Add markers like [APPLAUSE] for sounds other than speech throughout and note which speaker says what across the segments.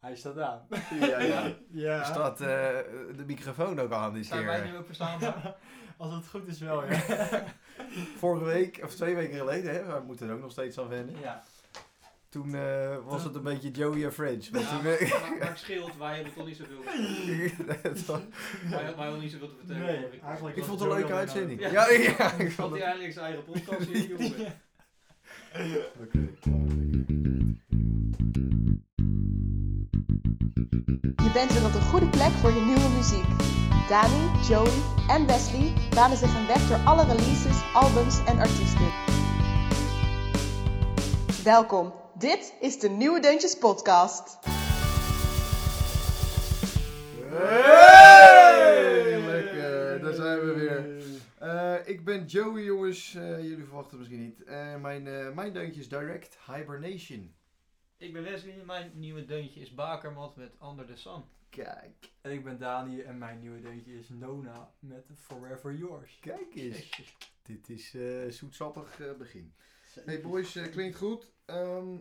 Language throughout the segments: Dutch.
Speaker 1: Hij staat aan.
Speaker 2: Ja, ja.
Speaker 1: Ja. [LAUGHS]
Speaker 3: Staat eh, de microfoon ook aan dit
Speaker 2: Zijn wij nu
Speaker 3: keer?
Speaker 2: ook
Speaker 3: [LAUGHS]
Speaker 2: verstaanbaar?
Speaker 1: Als het goed is [LAUGHS] wel, ja.
Speaker 3: Vorige week, of twee weken geleden, hè, we moeten er ook nog steeds aan wennen.
Speaker 2: Ja.
Speaker 3: Toen eh, was het een beetje Joey en French. Want
Speaker 2: Ja,
Speaker 3: toen,
Speaker 2: maar,
Speaker 3: eh,
Speaker 2: maar het scheelt, wij hebben toch niet
Speaker 3: [LAUGHS]
Speaker 2: zoveel, wij,
Speaker 3: dat was-
Speaker 2: wij hebben niet zoveel te vertellen.
Speaker 1: Nee,
Speaker 2: hoor. Ik-
Speaker 1: eigenlijk-
Speaker 3: ik
Speaker 1: was
Speaker 3: vond het een
Speaker 1: Joey
Speaker 3: leuke
Speaker 1: al
Speaker 3: uitzending.
Speaker 2: aan.
Speaker 3: Ja, ja, ik
Speaker 2: Had
Speaker 3: vond
Speaker 2: hij
Speaker 3: het...
Speaker 2: eigenlijk zijn eigen
Speaker 3: [LAUGHS]
Speaker 2: podcast hier, jongen?
Speaker 4: Je bent weer op de goede plek voor je nieuwe muziek. Dani, Joey en Wesley banen zich een weg door alle releases, albums en artiesten. Welkom, dit is de Nieuwe Deuntjes Podcast.
Speaker 3: Hey! Lekker, daar zijn we weer. Eh, ik ben Joey, jongens. Eh, jullie verwachten het misschien niet. Eh, mijn, eh mijn deuntje is Direct Hibernation.
Speaker 2: Ik ben Wesley, mijn nieuwe deuntje is Bakermat met Under the Sun.
Speaker 3: Kijk,
Speaker 1: En ik ben Dani en mijn nieuwe deuntje is Nona met Forever Yours.
Speaker 3: kijk eens.
Speaker 2: Jezus.
Speaker 3: Dit is eh zoetsappig eh, begin. Hey boys, eh, klinkt goed. Ehm,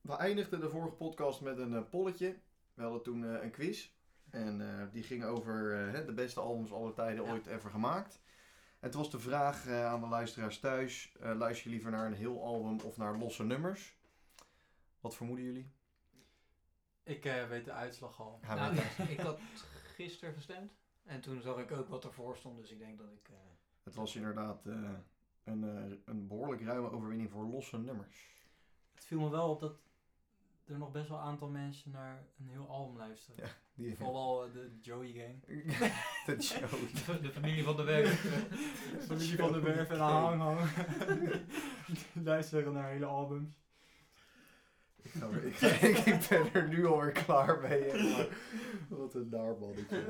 Speaker 3: we eindigden de vorige podcast met een eh, polletje. We hadden toen eh, een quiz. En eh, die ging over eh, hè, de beste albums aller tijden
Speaker 2: Ja.
Speaker 3: ooit ever gemaakt. Het was de vraag eh, aan de luisteraars thuis. eh, luister je liever naar een heel album of naar losse nummers? Wat vermoeden jullie?
Speaker 1: Ik eh, weet de uitslag al.
Speaker 3: Gaan we
Speaker 2: Nou,
Speaker 3: het-
Speaker 2: ik- ik had gisteren gestemd. En toen zag ik ook wat ervoor stond, dus ik denk dat ik... eh,
Speaker 3: Het was inderdaad eh, een, eh, een behoorlijk ruime overwinning voor losse nummers.
Speaker 1: Het viel me wel op dat er nog best wel een aantal mensen naar een heel album luisteren.
Speaker 3: Ja. Die [LAUGHS]
Speaker 1: Vooral eh, de Joey Gang.
Speaker 3: de Joey.
Speaker 2: [LAUGHS] de, de familie van de werk.
Speaker 3: [LAUGHS]
Speaker 1: Familie van [LAUGHS] de Werf en de Hang Hang. [LAUGHS] luisteren naar hele albums.
Speaker 3: Ik, ga weer- ik, ga- [LAUGHS] ik ben er nu alweer klaar mee. hè, maar Wat een naarballetje.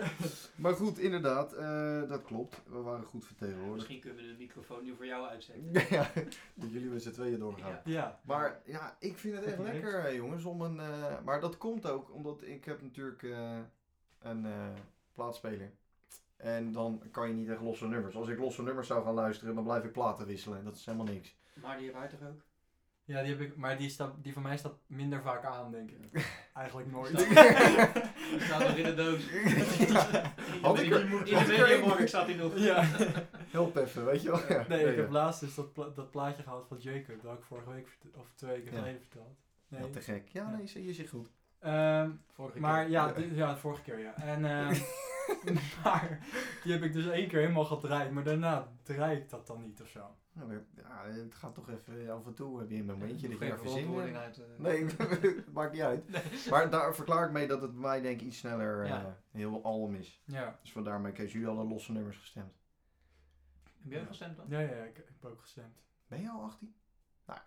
Speaker 3: Maar goed, inderdaad, eh, dat klopt. We waren goed vertegenwoordigd.
Speaker 2: Misschien kunnen we de microfoon nu voor jou uitzetten.
Speaker 3: [LAUGHS] Ja, dat jullie met z'n tweeën doorgaan.
Speaker 2: Ja.
Speaker 1: Ja.
Speaker 3: Maar ja, ik vind het echt
Speaker 1: Vind je
Speaker 3: lekker, hè, jongens. Om een, eh, maar dat komt ook omdat ik heb natuurlijk eh, een eh plaatspeler. En dan kan je niet echt losse nummers. Als ik losse nummers zou gaan luisteren, dan blijf ik platen wisselen. En dat is helemaal niks.
Speaker 2: Maar die hebben wij toch ook?
Speaker 1: Ja, die heb ik, maar die, staat, die van mij staat minder vaak aan, denk
Speaker 3: [LAUGHS]
Speaker 1: ik. Eigenlijk nooit.
Speaker 2: Die staat nog in de
Speaker 1: [LAUGHS]
Speaker 2: doos.
Speaker 3: Had ik er-
Speaker 2: In
Speaker 3: had
Speaker 2: de
Speaker 3: ik er
Speaker 2: mediamarkt staat hij nog.
Speaker 1: ja.
Speaker 3: Help even, weet je wel. Ja.
Speaker 1: Nee, ik
Speaker 3: ja.
Speaker 1: heb laatst dus dat, pla- dat plaatje gehaald van Jacob, dat had ik vorige week vert- of twee weken
Speaker 3: Ja.
Speaker 1: geleden verteld. Nee.
Speaker 3: Ja, te gek. Ja, nee, zie- je zit goed.
Speaker 1: Ehm,
Speaker 2: Vorige
Speaker 1: maar
Speaker 2: keer.
Speaker 1: ja, dit- ja, de vorige keer ja.
Speaker 3: [LAUGHS]
Speaker 1: En, ehm, maar die heb ik dus één keer helemaal gedraaid, maar daarna draai ik dat dan niet of zo.
Speaker 3: Nou, maar- Ja, het gaat toch even af en toe heb je een momentje dat je
Speaker 2: Geen
Speaker 3: even zin
Speaker 2: verantwoording
Speaker 3: hebt.
Speaker 2: uit. eh. [LAUGHS]
Speaker 3: Nee, [LAUGHS] het maakt niet uit. Maar daar verklaar ik mee dat het bij mij denk ik iets sneller eh,
Speaker 2: Ja.
Speaker 3: heel alm is.
Speaker 1: Ja,
Speaker 3: Dus vandaar mijn keus. Jullie hadden losse nummers gestemd.
Speaker 2: Heb jij gestemd dan?
Speaker 1: ja, ja, ik, ik heb ook gestemd.
Speaker 3: Ben je al 18? Nou,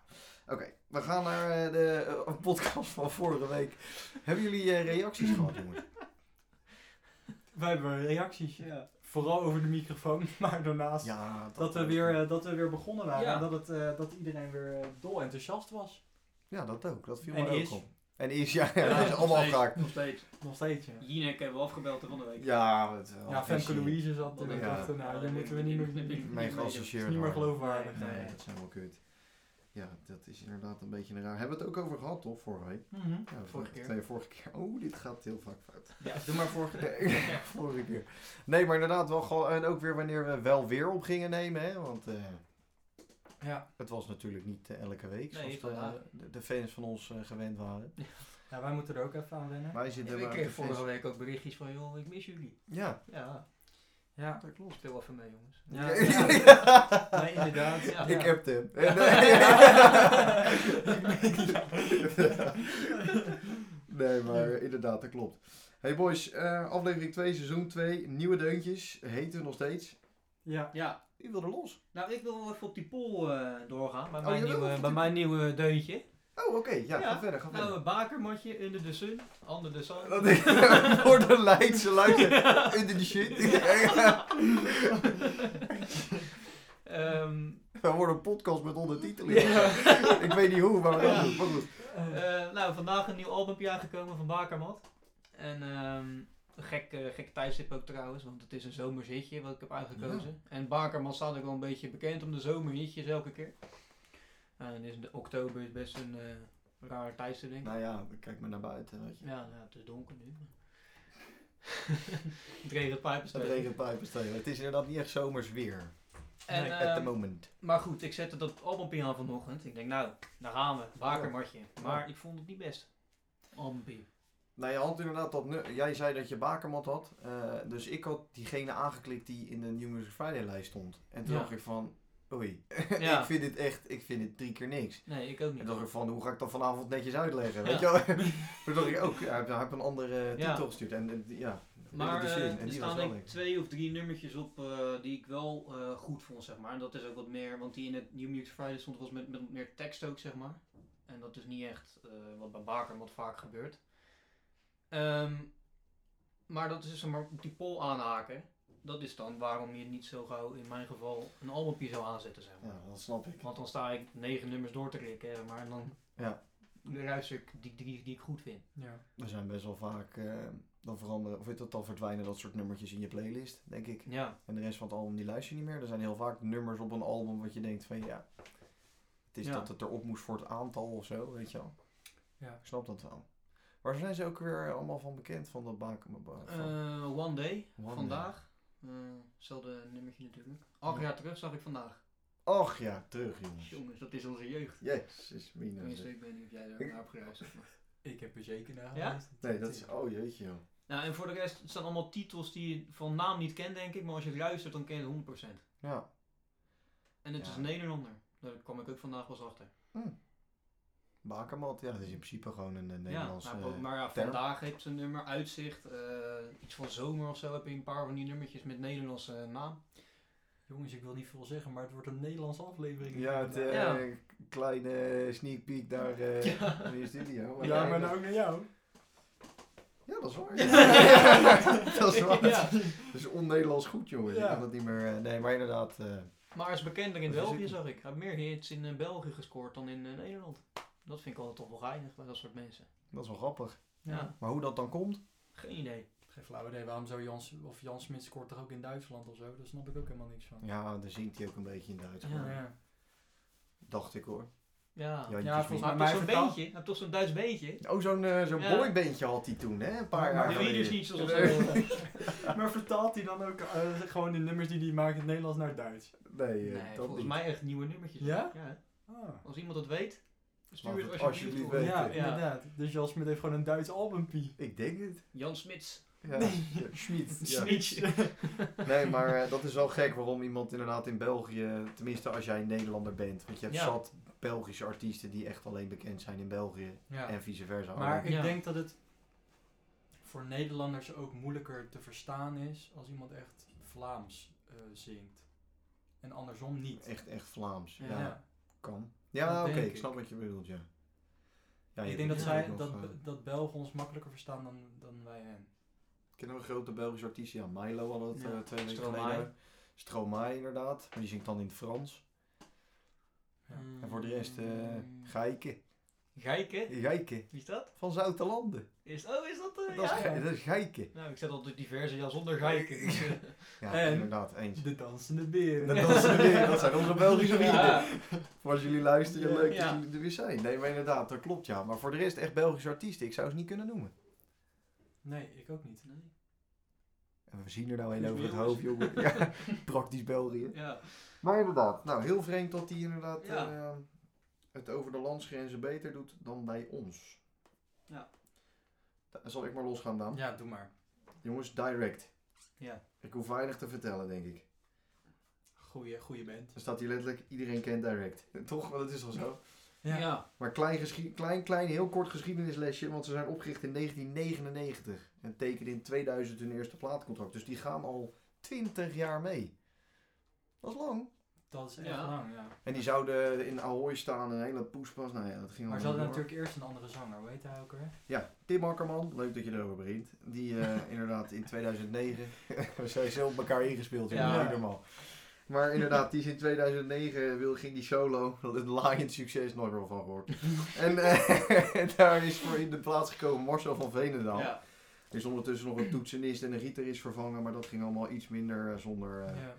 Speaker 3: oké. We gaan naar eh, de eh, podcast van vorige week. Hebben jullie eh, reacties gehad, jongens?
Speaker 1: Wij hebben reacties,
Speaker 2: Ja.
Speaker 1: vooral over de microfoon, [LAUGHS] maar daarnaast
Speaker 3: Ja,
Speaker 1: [LAUGHS] dat, we weer, eh, dat we weer begonnen waren
Speaker 2: Ja.
Speaker 1: en dat, het, eh, dat iedereen weer eh, dol enthousiast was.
Speaker 3: Ja, dat ook. Dat viel
Speaker 1: En
Speaker 3: mij
Speaker 1: is.
Speaker 3: ook op. En is, ja. [LAUGHS] ja, dat is
Speaker 2: nog
Speaker 3: allemaal
Speaker 2: steeds,
Speaker 3: gaak.
Speaker 2: Nog steeds.
Speaker 1: Nog steeds, ja.
Speaker 2: Jinek hebben we afgebeld de van de week.
Speaker 3: Ja, het, wel
Speaker 1: Ja, Femke
Speaker 3: fascinerend.
Speaker 1: Louise zat er
Speaker 2: Ja.
Speaker 1: en dachten, nou, daar moeten we niet meer...
Speaker 3: Mee
Speaker 1: Het is
Speaker 3: geassocieerd.
Speaker 1: niet meer
Speaker 3: worden.
Speaker 1: geloofwaardig.
Speaker 3: Nee, dat is helemaal kut. Ja, dat is inderdaad een beetje een raar. Hebben we het ook over gehad, toch? Vorige week?
Speaker 1: Mhm.
Speaker 3: Ja, we
Speaker 2: Vorige keer.
Speaker 3: Nee, vorige keer. Oh, dit gaat heel vaak
Speaker 2: [LAUGHS]
Speaker 3: fout. [LAUGHS]
Speaker 2: Ja, doe maar vorige keer.
Speaker 3: Nee, vorige keer. Nee, maar inderdaad wel gewoon. En ook weer wanneer we wel weer op gingen nemen, hè? Want eh,
Speaker 1: Ja.
Speaker 3: het was natuurlijk niet eh, elke week.
Speaker 2: Nee,
Speaker 3: zoals
Speaker 2: vandaag.
Speaker 3: de, de, de fans van ons eh, gewend waren.
Speaker 1: ja, wij moeten er ook even aan wennen.
Speaker 3: Wij zitten
Speaker 2: Ik
Speaker 3: maar
Speaker 2: kreeg
Speaker 3: op de fans-
Speaker 2: vorige week ook berichtjes van, joh, ik mis jullie.
Speaker 3: Ja,
Speaker 2: Ja,
Speaker 1: Ja,
Speaker 3: dat klopt.
Speaker 2: speel even mee jongens.
Speaker 3: [LAUGHS]
Speaker 1: Ja.
Speaker 3: Ja.
Speaker 1: nee, inderdaad.
Speaker 2: Ja.
Speaker 3: Ik heb hem. [LAUGHS]
Speaker 2: [LAUGHS]
Speaker 3: nee, maar inderdaad, dat klopt. Hey boys, eh, aflevering 2, seizoen 2, nieuwe deuntjes, heten we nog steeds.
Speaker 1: Ja.
Speaker 2: Ja,
Speaker 3: Wie wil er los?
Speaker 2: nou ik wil wel even op die poll eh, doorgaan. Bij,
Speaker 3: Oh,
Speaker 2: mijn
Speaker 3: je wil
Speaker 2: nieuwe,
Speaker 3: even
Speaker 2: bij
Speaker 3: die-
Speaker 2: mijn nieuwe deuntje.
Speaker 3: Oh, oké, ja,
Speaker 2: Ja.
Speaker 3: ga verder, ga verder.
Speaker 2: Nou, een bakermatje, under the sun. Under the sun.
Speaker 3: Dat ik [LAUGHS] voor de Leidse luister, under the shit.
Speaker 2: [LAUGHS] Ehm,
Speaker 3: [LAUGHS] we worden een podcast met ondertiteling. Ik weet niet hoe, maar we gaan het doen. Maar goed.
Speaker 2: Eh, nou, vandaag een nieuw albumpje aangekomen van Bakermat. En ehm, een gek, eh, gek tijdstip ook trouwens, want het is een zomerhitje wat ik heb uitgekozen. En Bakermat staat ook wel een beetje bekend om de zomerhitjes elke keer. En dan is de oktober is best een eh, raar thuis te denken.
Speaker 3: Nou ja, kijk maar naar buiten. Weet je.
Speaker 2: Ja, nou, het is donker nu. maar- [LAUGHS] het regent pijpen
Speaker 3: Het regent pijpenstelen. Het is inderdaad niet echt zomers weer.
Speaker 2: En,
Speaker 3: At the
Speaker 2: ehm,
Speaker 3: moment.
Speaker 2: maar goed, ik zette dat albumpje aan vanochtend. Ik denk, nou, daar gaan we. Bakermatje. Maar ik vond het niet best. Albumpje.
Speaker 3: Nou, je had inderdaad dat... nu- Jij zei dat je bakermat had. eh, dus ik had diegene aangeklikt die in de New Music Friday lijst stond. En toen
Speaker 2: Ja.
Speaker 3: dacht ik van... Oei, [LAUGHS]
Speaker 2: Ja.
Speaker 3: ik vind dit echt... Ik vind dit drie keer niks.
Speaker 2: Nee, ik ook
Speaker 3: En
Speaker 2: niet.
Speaker 3: dacht ik van, hoe ga ik dat vanavond netjes uitleggen?
Speaker 2: Ja.
Speaker 3: Weet je
Speaker 2: [LAUGHS]
Speaker 3: wel? [LAUGHS] Toen dacht ik ook, hij heeft, hij heeft een andere eh,
Speaker 2: Ja.
Speaker 3: titel gestuurd. En, en die- ja,
Speaker 2: Maar
Speaker 3: die
Speaker 2: eh,
Speaker 3: zin.
Speaker 2: er
Speaker 3: was
Speaker 2: staan
Speaker 3: wel
Speaker 2: denk ik
Speaker 3: lekker.
Speaker 2: twee of drie nummertjes op eh, die ik wel eh, goed vond, zeg maar. En dat is ook wat meer, want die in het New Music Friday stond was met, met meer tekst ook, zeg maar. En dat is niet echt eh, wat bij Baker wat vaak gebeurt. Ehm, maar dat is dus zeg maar op die poll aanhaken. Dat is dan waarom je niet zo gauw, in mijn geval, een albumpje zou aanzetten, zeg maar.
Speaker 3: Ja, dat snap ik.
Speaker 2: Want dan sta ik negen nummers door te klikken, zeg maar. En dan
Speaker 3: Ja.
Speaker 2: luister ik die drie die ik goed vind.
Speaker 1: Ja.
Speaker 3: Er zijn best wel vaak, eh, dan veranderen, of weet dat, dan verdwijnen dat soort nummertjes in je playlist, denk ik.
Speaker 2: Ja,
Speaker 3: En de rest van het album die luister je niet meer. Er zijn heel vaak nummers op een album wat je denkt van ja, het is
Speaker 2: Ja.
Speaker 3: dat het erop moest voor het aantal of zo, weet je wel.
Speaker 1: Ja.
Speaker 3: Ik snap dat wel. Waar zijn ze ook weer allemaal van bekend van dat Baken? van-
Speaker 2: Eh, One Day,
Speaker 3: One
Speaker 2: vandaag. Eh, Hetzelfde nummertje natuurlijk. Acht
Speaker 3: Ja.
Speaker 2: jaar terug zag ik vandaag.
Speaker 3: Och ja, terug jongens.
Speaker 2: Jongens, dat is onze jeugd.
Speaker 3: Jezus, mina.
Speaker 2: Tenminste, ik weet niet of jij daar naar hebt geluisterd. maar-
Speaker 1: Ik heb er zeker naar
Speaker 2: Ja?
Speaker 1: geluisterd.
Speaker 3: Nee, dat is, oh jeetje joh.
Speaker 2: Nou, en voor de rest het zijn allemaal titels die je van naam niet kent, denk ik. Maar als je het luistert, dan ken je het 100%.
Speaker 3: Ja.
Speaker 2: En het
Speaker 3: Ja.
Speaker 2: is een Nederlander. Daar kwam ik ook vandaag pas achter.
Speaker 3: Bakermat, ja, dat is in principe gewoon een eh, Nederlands.
Speaker 2: ja, nou, maar,
Speaker 3: eh,
Speaker 2: maar ja,
Speaker 3: term.
Speaker 2: vandaag heeft ze een nummer uitzicht. eh, iets van zomer of zo heb je een paar van die nummertjes met Nederlandse eh, naam.
Speaker 1: Jongens, ik wil niet veel zeggen, maar het wordt een Nederlandse aflevering.
Speaker 3: ja, het eh,
Speaker 2: Ja.
Speaker 3: kleine sneak peek daar eh,
Speaker 2: Ja.
Speaker 3: in de studio.
Speaker 1: Ja, maar nou ook naar jou.
Speaker 3: Ja, dat is waar. [LAUGHS]
Speaker 2: Ja.
Speaker 3: dat is waar.
Speaker 2: Ja.
Speaker 3: Dat is on-Nederlands goed, jongen.
Speaker 1: Ja.
Speaker 3: Ik kan dat niet meer... eh, nee, maar inderdaad... eh,
Speaker 2: Maar hij is bekender in
Speaker 3: Wat is
Speaker 2: België,
Speaker 3: het?
Speaker 2: zag ik. Hij heeft meer hits in eh, België gescoord dan in eh, Nederland. Dat vind ik altijd toch wel geinig bij dat soort mensen.
Speaker 3: dat is wel grappig.
Speaker 2: Ja,
Speaker 3: Maar hoe dat dan komt?
Speaker 2: geen idee.
Speaker 1: Geen flauw idee, waarom zou Jan, of Jan Smit scoort toch ook in Duitsland of zo? Daar snap ik ook helemaal niks van.
Speaker 3: Ja, dan zingt hij ook een beetje in Duits.
Speaker 2: Ja.
Speaker 1: ja.
Speaker 3: Dacht ik hoor.
Speaker 2: Ja.
Speaker 3: Jantjes
Speaker 1: Ja, volgens
Speaker 3: Mie.
Speaker 2: Maar
Speaker 1: Maar
Speaker 2: hij heeft
Speaker 1: hij
Speaker 2: toch zo'n
Speaker 1: vertaalt-
Speaker 2: beentje? Hij heeft toch zo'n Duits beentje?
Speaker 3: Oh, zo'n eh, zo'n
Speaker 2: Ja.
Speaker 3: boybeentje had hij toen, hè? Een paar
Speaker 1: Maar-
Speaker 3: jaar
Speaker 1: maar
Speaker 2: Die
Speaker 3: geleden.
Speaker 2: dus niet zoals
Speaker 3: Nee.
Speaker 1: [LAUGHS]
Speaker 2: eh,
Speaker 1: maar vertaalt hij dan ook eh, gewoon de nummers die hij maakt in het Nederlands naar het Duits?
Speaker 3: Nee, eh,
Speaker 2: Nee,
Speaker 3: dat
Speaker 2: volgens
Speaker 3: niet.
Speaker 2: mij echt nieuwe nummertjes.
Speaker 1: Ja?
Speaker 2: ja.
Speaker 1: Ah.
Speaker 2: Als iemand dat weet, stuur
Speaker 3: Laat
Speaker 2: het
Speaker 3: het
Speaker 2: alsjeblieft
Speaker 3: alsjeblieft
Speaker 2: door.
Speaker 3: weten.
Speaker 1: Ja,
Speaker 3: Ja.
Speaker 1: inderdaad. Dus Jan Smit heeft gewoon een Duits albumpie.
Speaker 3: Ik denk het.
Speaker 2: Jan Smits.
Speaker 3: Ja. Ja,
Speaker 2: [LAUGHS]
Speaker 3: Schmid. Ja.
Speaker 2: Smits.
Speaker 3: Nee, maar eh, dat is wel gek waarom iemand inderdaad in België... Tenminste, als jij een Nederlander bent. Want je hebt
Speaker 2: Ja.
Speaker 3: zat Belgische artiesten die echt alleen bekend zijn in België. En vice versa. Oh,
Speaker 1: Maar ik
Speaker 2: Ja.
Speaker 1: denk dat het voor Nederlanders ook moeilijker te verstaan is als iemand echt Vlaams eh, zingt. En andersom niet.
Speaker 3: Echt, echt Vlaams.
Speaker 2: Ja.
Speaker 3: Ja, kan. Ja,
Speaker 1: Dat
Speaker 3: oké,
Speaker 1: denk
Speaker 3: ik
Speaker 1: ik.
Speaker 3: snap wat je bedoelt, ja. ja je
Speaker 1: ik denk dat,
Speaker 3: hebt
Speaker 1: zij,
Speaker 3: natuurlijk
Speaker 1: dat,
Speaker 3: nog, eh,
Speaker 1: dat Belgen ons makkelijker verstaan dan, dan wij hen.
Speaker 3: kennen we een grote Belgische artiest? Ja, Milo hadden het
Speaker 2: Ja,
Speaker 3: eh, twee weken
Speaker 2: Stromae.
Speaker 3: geleden. Stromae, inderdaad. Maar die zingt dan in het Frans.
Speaker 1: Ja.
Speaker 3: En voor de rest, eh
Speaker 2: Mm.
Speaker 3: Geike.
Speaker 2: Geike.
Speaker 3: Geike.
Speaker 2: Wie is dat?
Speaker 3: Van Zoutelanden.
Speaker 2: Is, oh, is dat? eh,
Speaker 3: Dat, is
Speaker 2: ja?
Speaker 3: Ge- dat is Geike.
Speaker 2: Nou, ik zet altijd diverse ja zonder Geike.
Speaker 3: [LAUGHS]
Speaker 2: dus, eh.
Speaker 3: Ja,
Speaker 1: En-
Speaker 3: inderdaad, eens.
Speaker 1: De dansende beren.
Speaker 3: Dat, dat, is weer, dat zijn onze Belgische vrienden.
Speaker 2: Ja.
Speaker 3: Voor als jullie luisteren,
Speaker 1: Ja.
Speaker 3: leuk dat
Speaker 2: Ja.
Speaker 3: jullie er weer zijn. Nee, maar inderdaad, dat klopt ja. Maar voor de rest, echt Belgische artiesten, ik zou ze niet kunnen noemen.
Speaker 1: [LAUGHS] Nee, ik ook niet.
Speaker 2: Nee.
Speaker 3: En we zien er nou een
Speaker 2: Dus
Speaker 3: over het
Speaker 2: jongens.
Speaker 3: hoofd, jongen. Ja, [LAUGHS] praktisch België.
Speaker 2: Ja.
Speaker 3: Maar inderdaad, nou heel vreemd dat hij inderdaad
Speaker 2: Ja.
Speaker 3: eh, het over de landsgrenzen beter doet dan bij ons.
Speaker 2: Ja.
Speaker 3: Da- Zal ik maar losgaan dan?
Speaker 1: Ja, doe maar.
Speaker 3: Jongens, direct.
Speaker 2: Ja.
Speaker 3: Ik hoef weinig te vertellen, denk ik.
Speaker 1: Goeie, goeie band.
Speaker 3: Er staat hier letterlijk, iedereen kent direct. [LAUGHS] Toch? Want Dat is al zo.
Speaker 1: Ja.
Speaker 2: ja.
Speaker 3: Maar klein, geschie- klein, klein, heel kort geschiedenislesje, want ze zijn opgericht in 1999. En tekenen in 2000 hun eerste plaatcontract. Dus die gaan al 20 jaar mee. Dat is lang.
Speaker 1: Dat is echt
Speaker 2: Ja.
Speaker 1: lang, ja.
Speaker 3: En die zouden in Ahoy staan, een hele poespas. Nou ja, dat ging
Speaker 1: Maar ze
Speaker 3: allemaal
Speaker 1: hadden
Speaker 3: door.
Speaker 1: natuurlijk eerst een andere zanger, hoe heet hij ook weer?
Speaker 3: Ja, Tim Akkerman, leuk dat je erover begint.
Speaker 1: [LAUGHS]
Speaker 3: Die eh, inderdaad in 2009. [LAUGHS] we zijn zo op elkaar ingespeeld, jongen,
Speaker 2: Ja.
Speaker 3: niet normaal. Maar inderdaad, die is in 2009 wil, ging die solo. Dat is een laaiend succes, nooit meer van
Speaker 1: [LAUGHS]
Speaker 3: gehoord. en eh, [LAUGHS] daar is voor in de plaats gekomen Marcel van Veenendaal.
Speaker 2: Ja.
Speaker 3: Er is ondertussen nog een toetsenist en een gitarist vervangen, maar dat ging allemaal iets minder eh, zonder. eh,
Speaker 1: Ja.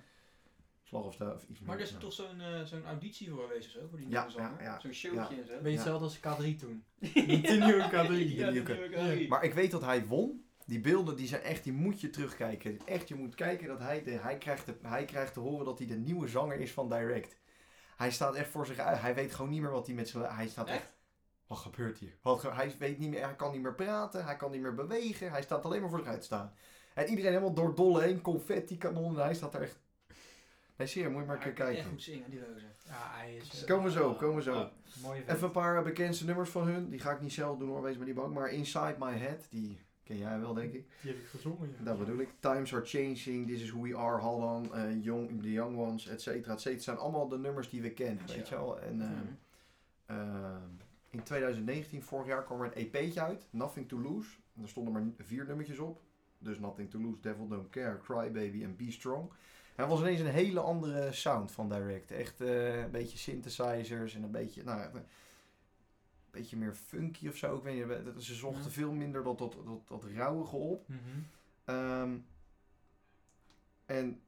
Speaker 3: Slag of de, of iets
Speaker 2: Maar er
Speaker 3: meer.
Speaker 2: is
Speaker 3: Ja.
Speaker 2: toch zo'n eh, zo'n auditie voor geweest of zo, voor die
Speaker 3: Ja,
Speaker 2: nieuwe zanger?
Speaker 3: ja, ja.
Speaker 2: Zo'n showtje en zo.
Speaker 1: Ben je
Speaker 3: Ja.
Speaker 1: hetzelfde als K3 toen?
Speaker 2: Die
Speaker 3: nieuwe K3. Die
Speaker 2: Ja, die
Speaker 3: nieuwe
Speaker 2: nieuwe K3.
Speaker 3: Maar ik weet dat hij won. Die beelden die zijn echt, die moet je terugkijken. Echt, je moet kijken dat hij, de, hij, krijgt te- hij krijgt te horen dat hij de nieuwe zanger is van Direct. Hij staat echt voor zich uit. Hij weet gewoon niet meer wat hij met zijn... Hij staat echt... Wat gebeurt hier? Wat, ge- hij, weet niet meer, hij kan niet meer praten. Hij kan niet meer bewegen. Hij staat alleen maar voor zich uit te staan. En iedereen helemaal door dolle heen. Confetti, kanonnen. Hij staat er echt... Nee, serieus, moet je maar een keer
Speaker 2: hij kan Echt
Speaker 3: kijken.
Speaker 2: goed zingen, die rozen.
Speaker 1: Ja, hij is... eh,
Speaker 3: Komen we zo, komen we zo.
Speaker 1: ah, mooie vent.
Speaker 3: Even een paar eh, bekendste nummers van hun. Die ga ik niet zelf doen hoor, wees maar niet bang. Maar Inside My Head, die ken jij wel denk ik.
Speaker 1: Die heb ik gezongen, ja.
Speaker 3: Dat bedoel ik. Times are changing, This is who we are, Holland, eh young, The Young Ones, et cetera, et cetera. Het zijn allemaal de nummers die we kennen, weet je wel. En, eh,
Speaker 2: Mhm. Mm.
Speaker 3: ehm, in 2019, vorig jaar, kwam er een EP'tje uit, Nothing to Lose. En er stonden maar vier nummertjes op. Dus Nothing to Lose, Devil Don't Care, Cry Baby en Be Strong. En het was ineens een hele andere sound van Direct. Echt eh, een beetje synthesizers en een beetje, nou, ja, een beetje meer funky of zo. Ik weet niet, ze zochten
Speaker 2: Ja.
Speaker 3: veel minder dat, dat, dat, dat rauwige op.
Speaker 1: Mhm.
Speaker 3: Ehm, en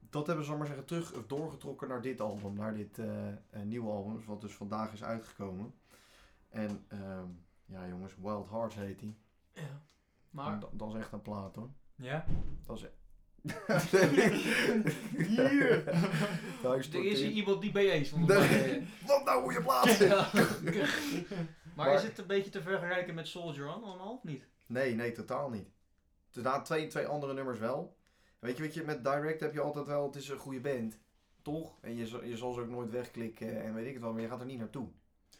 Speaker 3: dat hebben ze, zal ik maar zeggen, terug of doorgetrokken naar dit album, naar dit eh, eh, nieuwe album, wat dus vandaag is uitgekomen. En ehm, ja, jongens, Wild Hearts heet die.
Speaker 2: Ja.
Speaker 3: En [LAUGHS]
Speaker 2: Maar, [LAUGHS]
Speaker 3: da- dat is echt een plaat hoor.
Speaker 1: Ja?
Speaker 3: Dat is.
Speaker 2: Hier.
Speaker 3: Nou, ik
Speaker 2: er
Speaker 3: stort
Speaker 2: is hier
Speaker 3: in.
Speaker 2: iemand die mee eens, volgens
Speaker 3: Nee.
Speaker 2: mij.
Speaker 3: Wat nou hoe je plaat? zit?
Speaker 2: Ja. Maar
Speaker 3: Maar-
Speaker 2: is het een beetje te vergelijken met Soldier On allemaal, of niet?
Speaker 3: Nee, nee, totaal niet. Daarna twee, twee andere nummers wel. Weet je, weet je, met Direct heb je altijd wel, het is een goede band. Toch? En je, zal- je zal ze ook nooit wegklikken en weet ik het wel, maar je gaat er niet naartoe.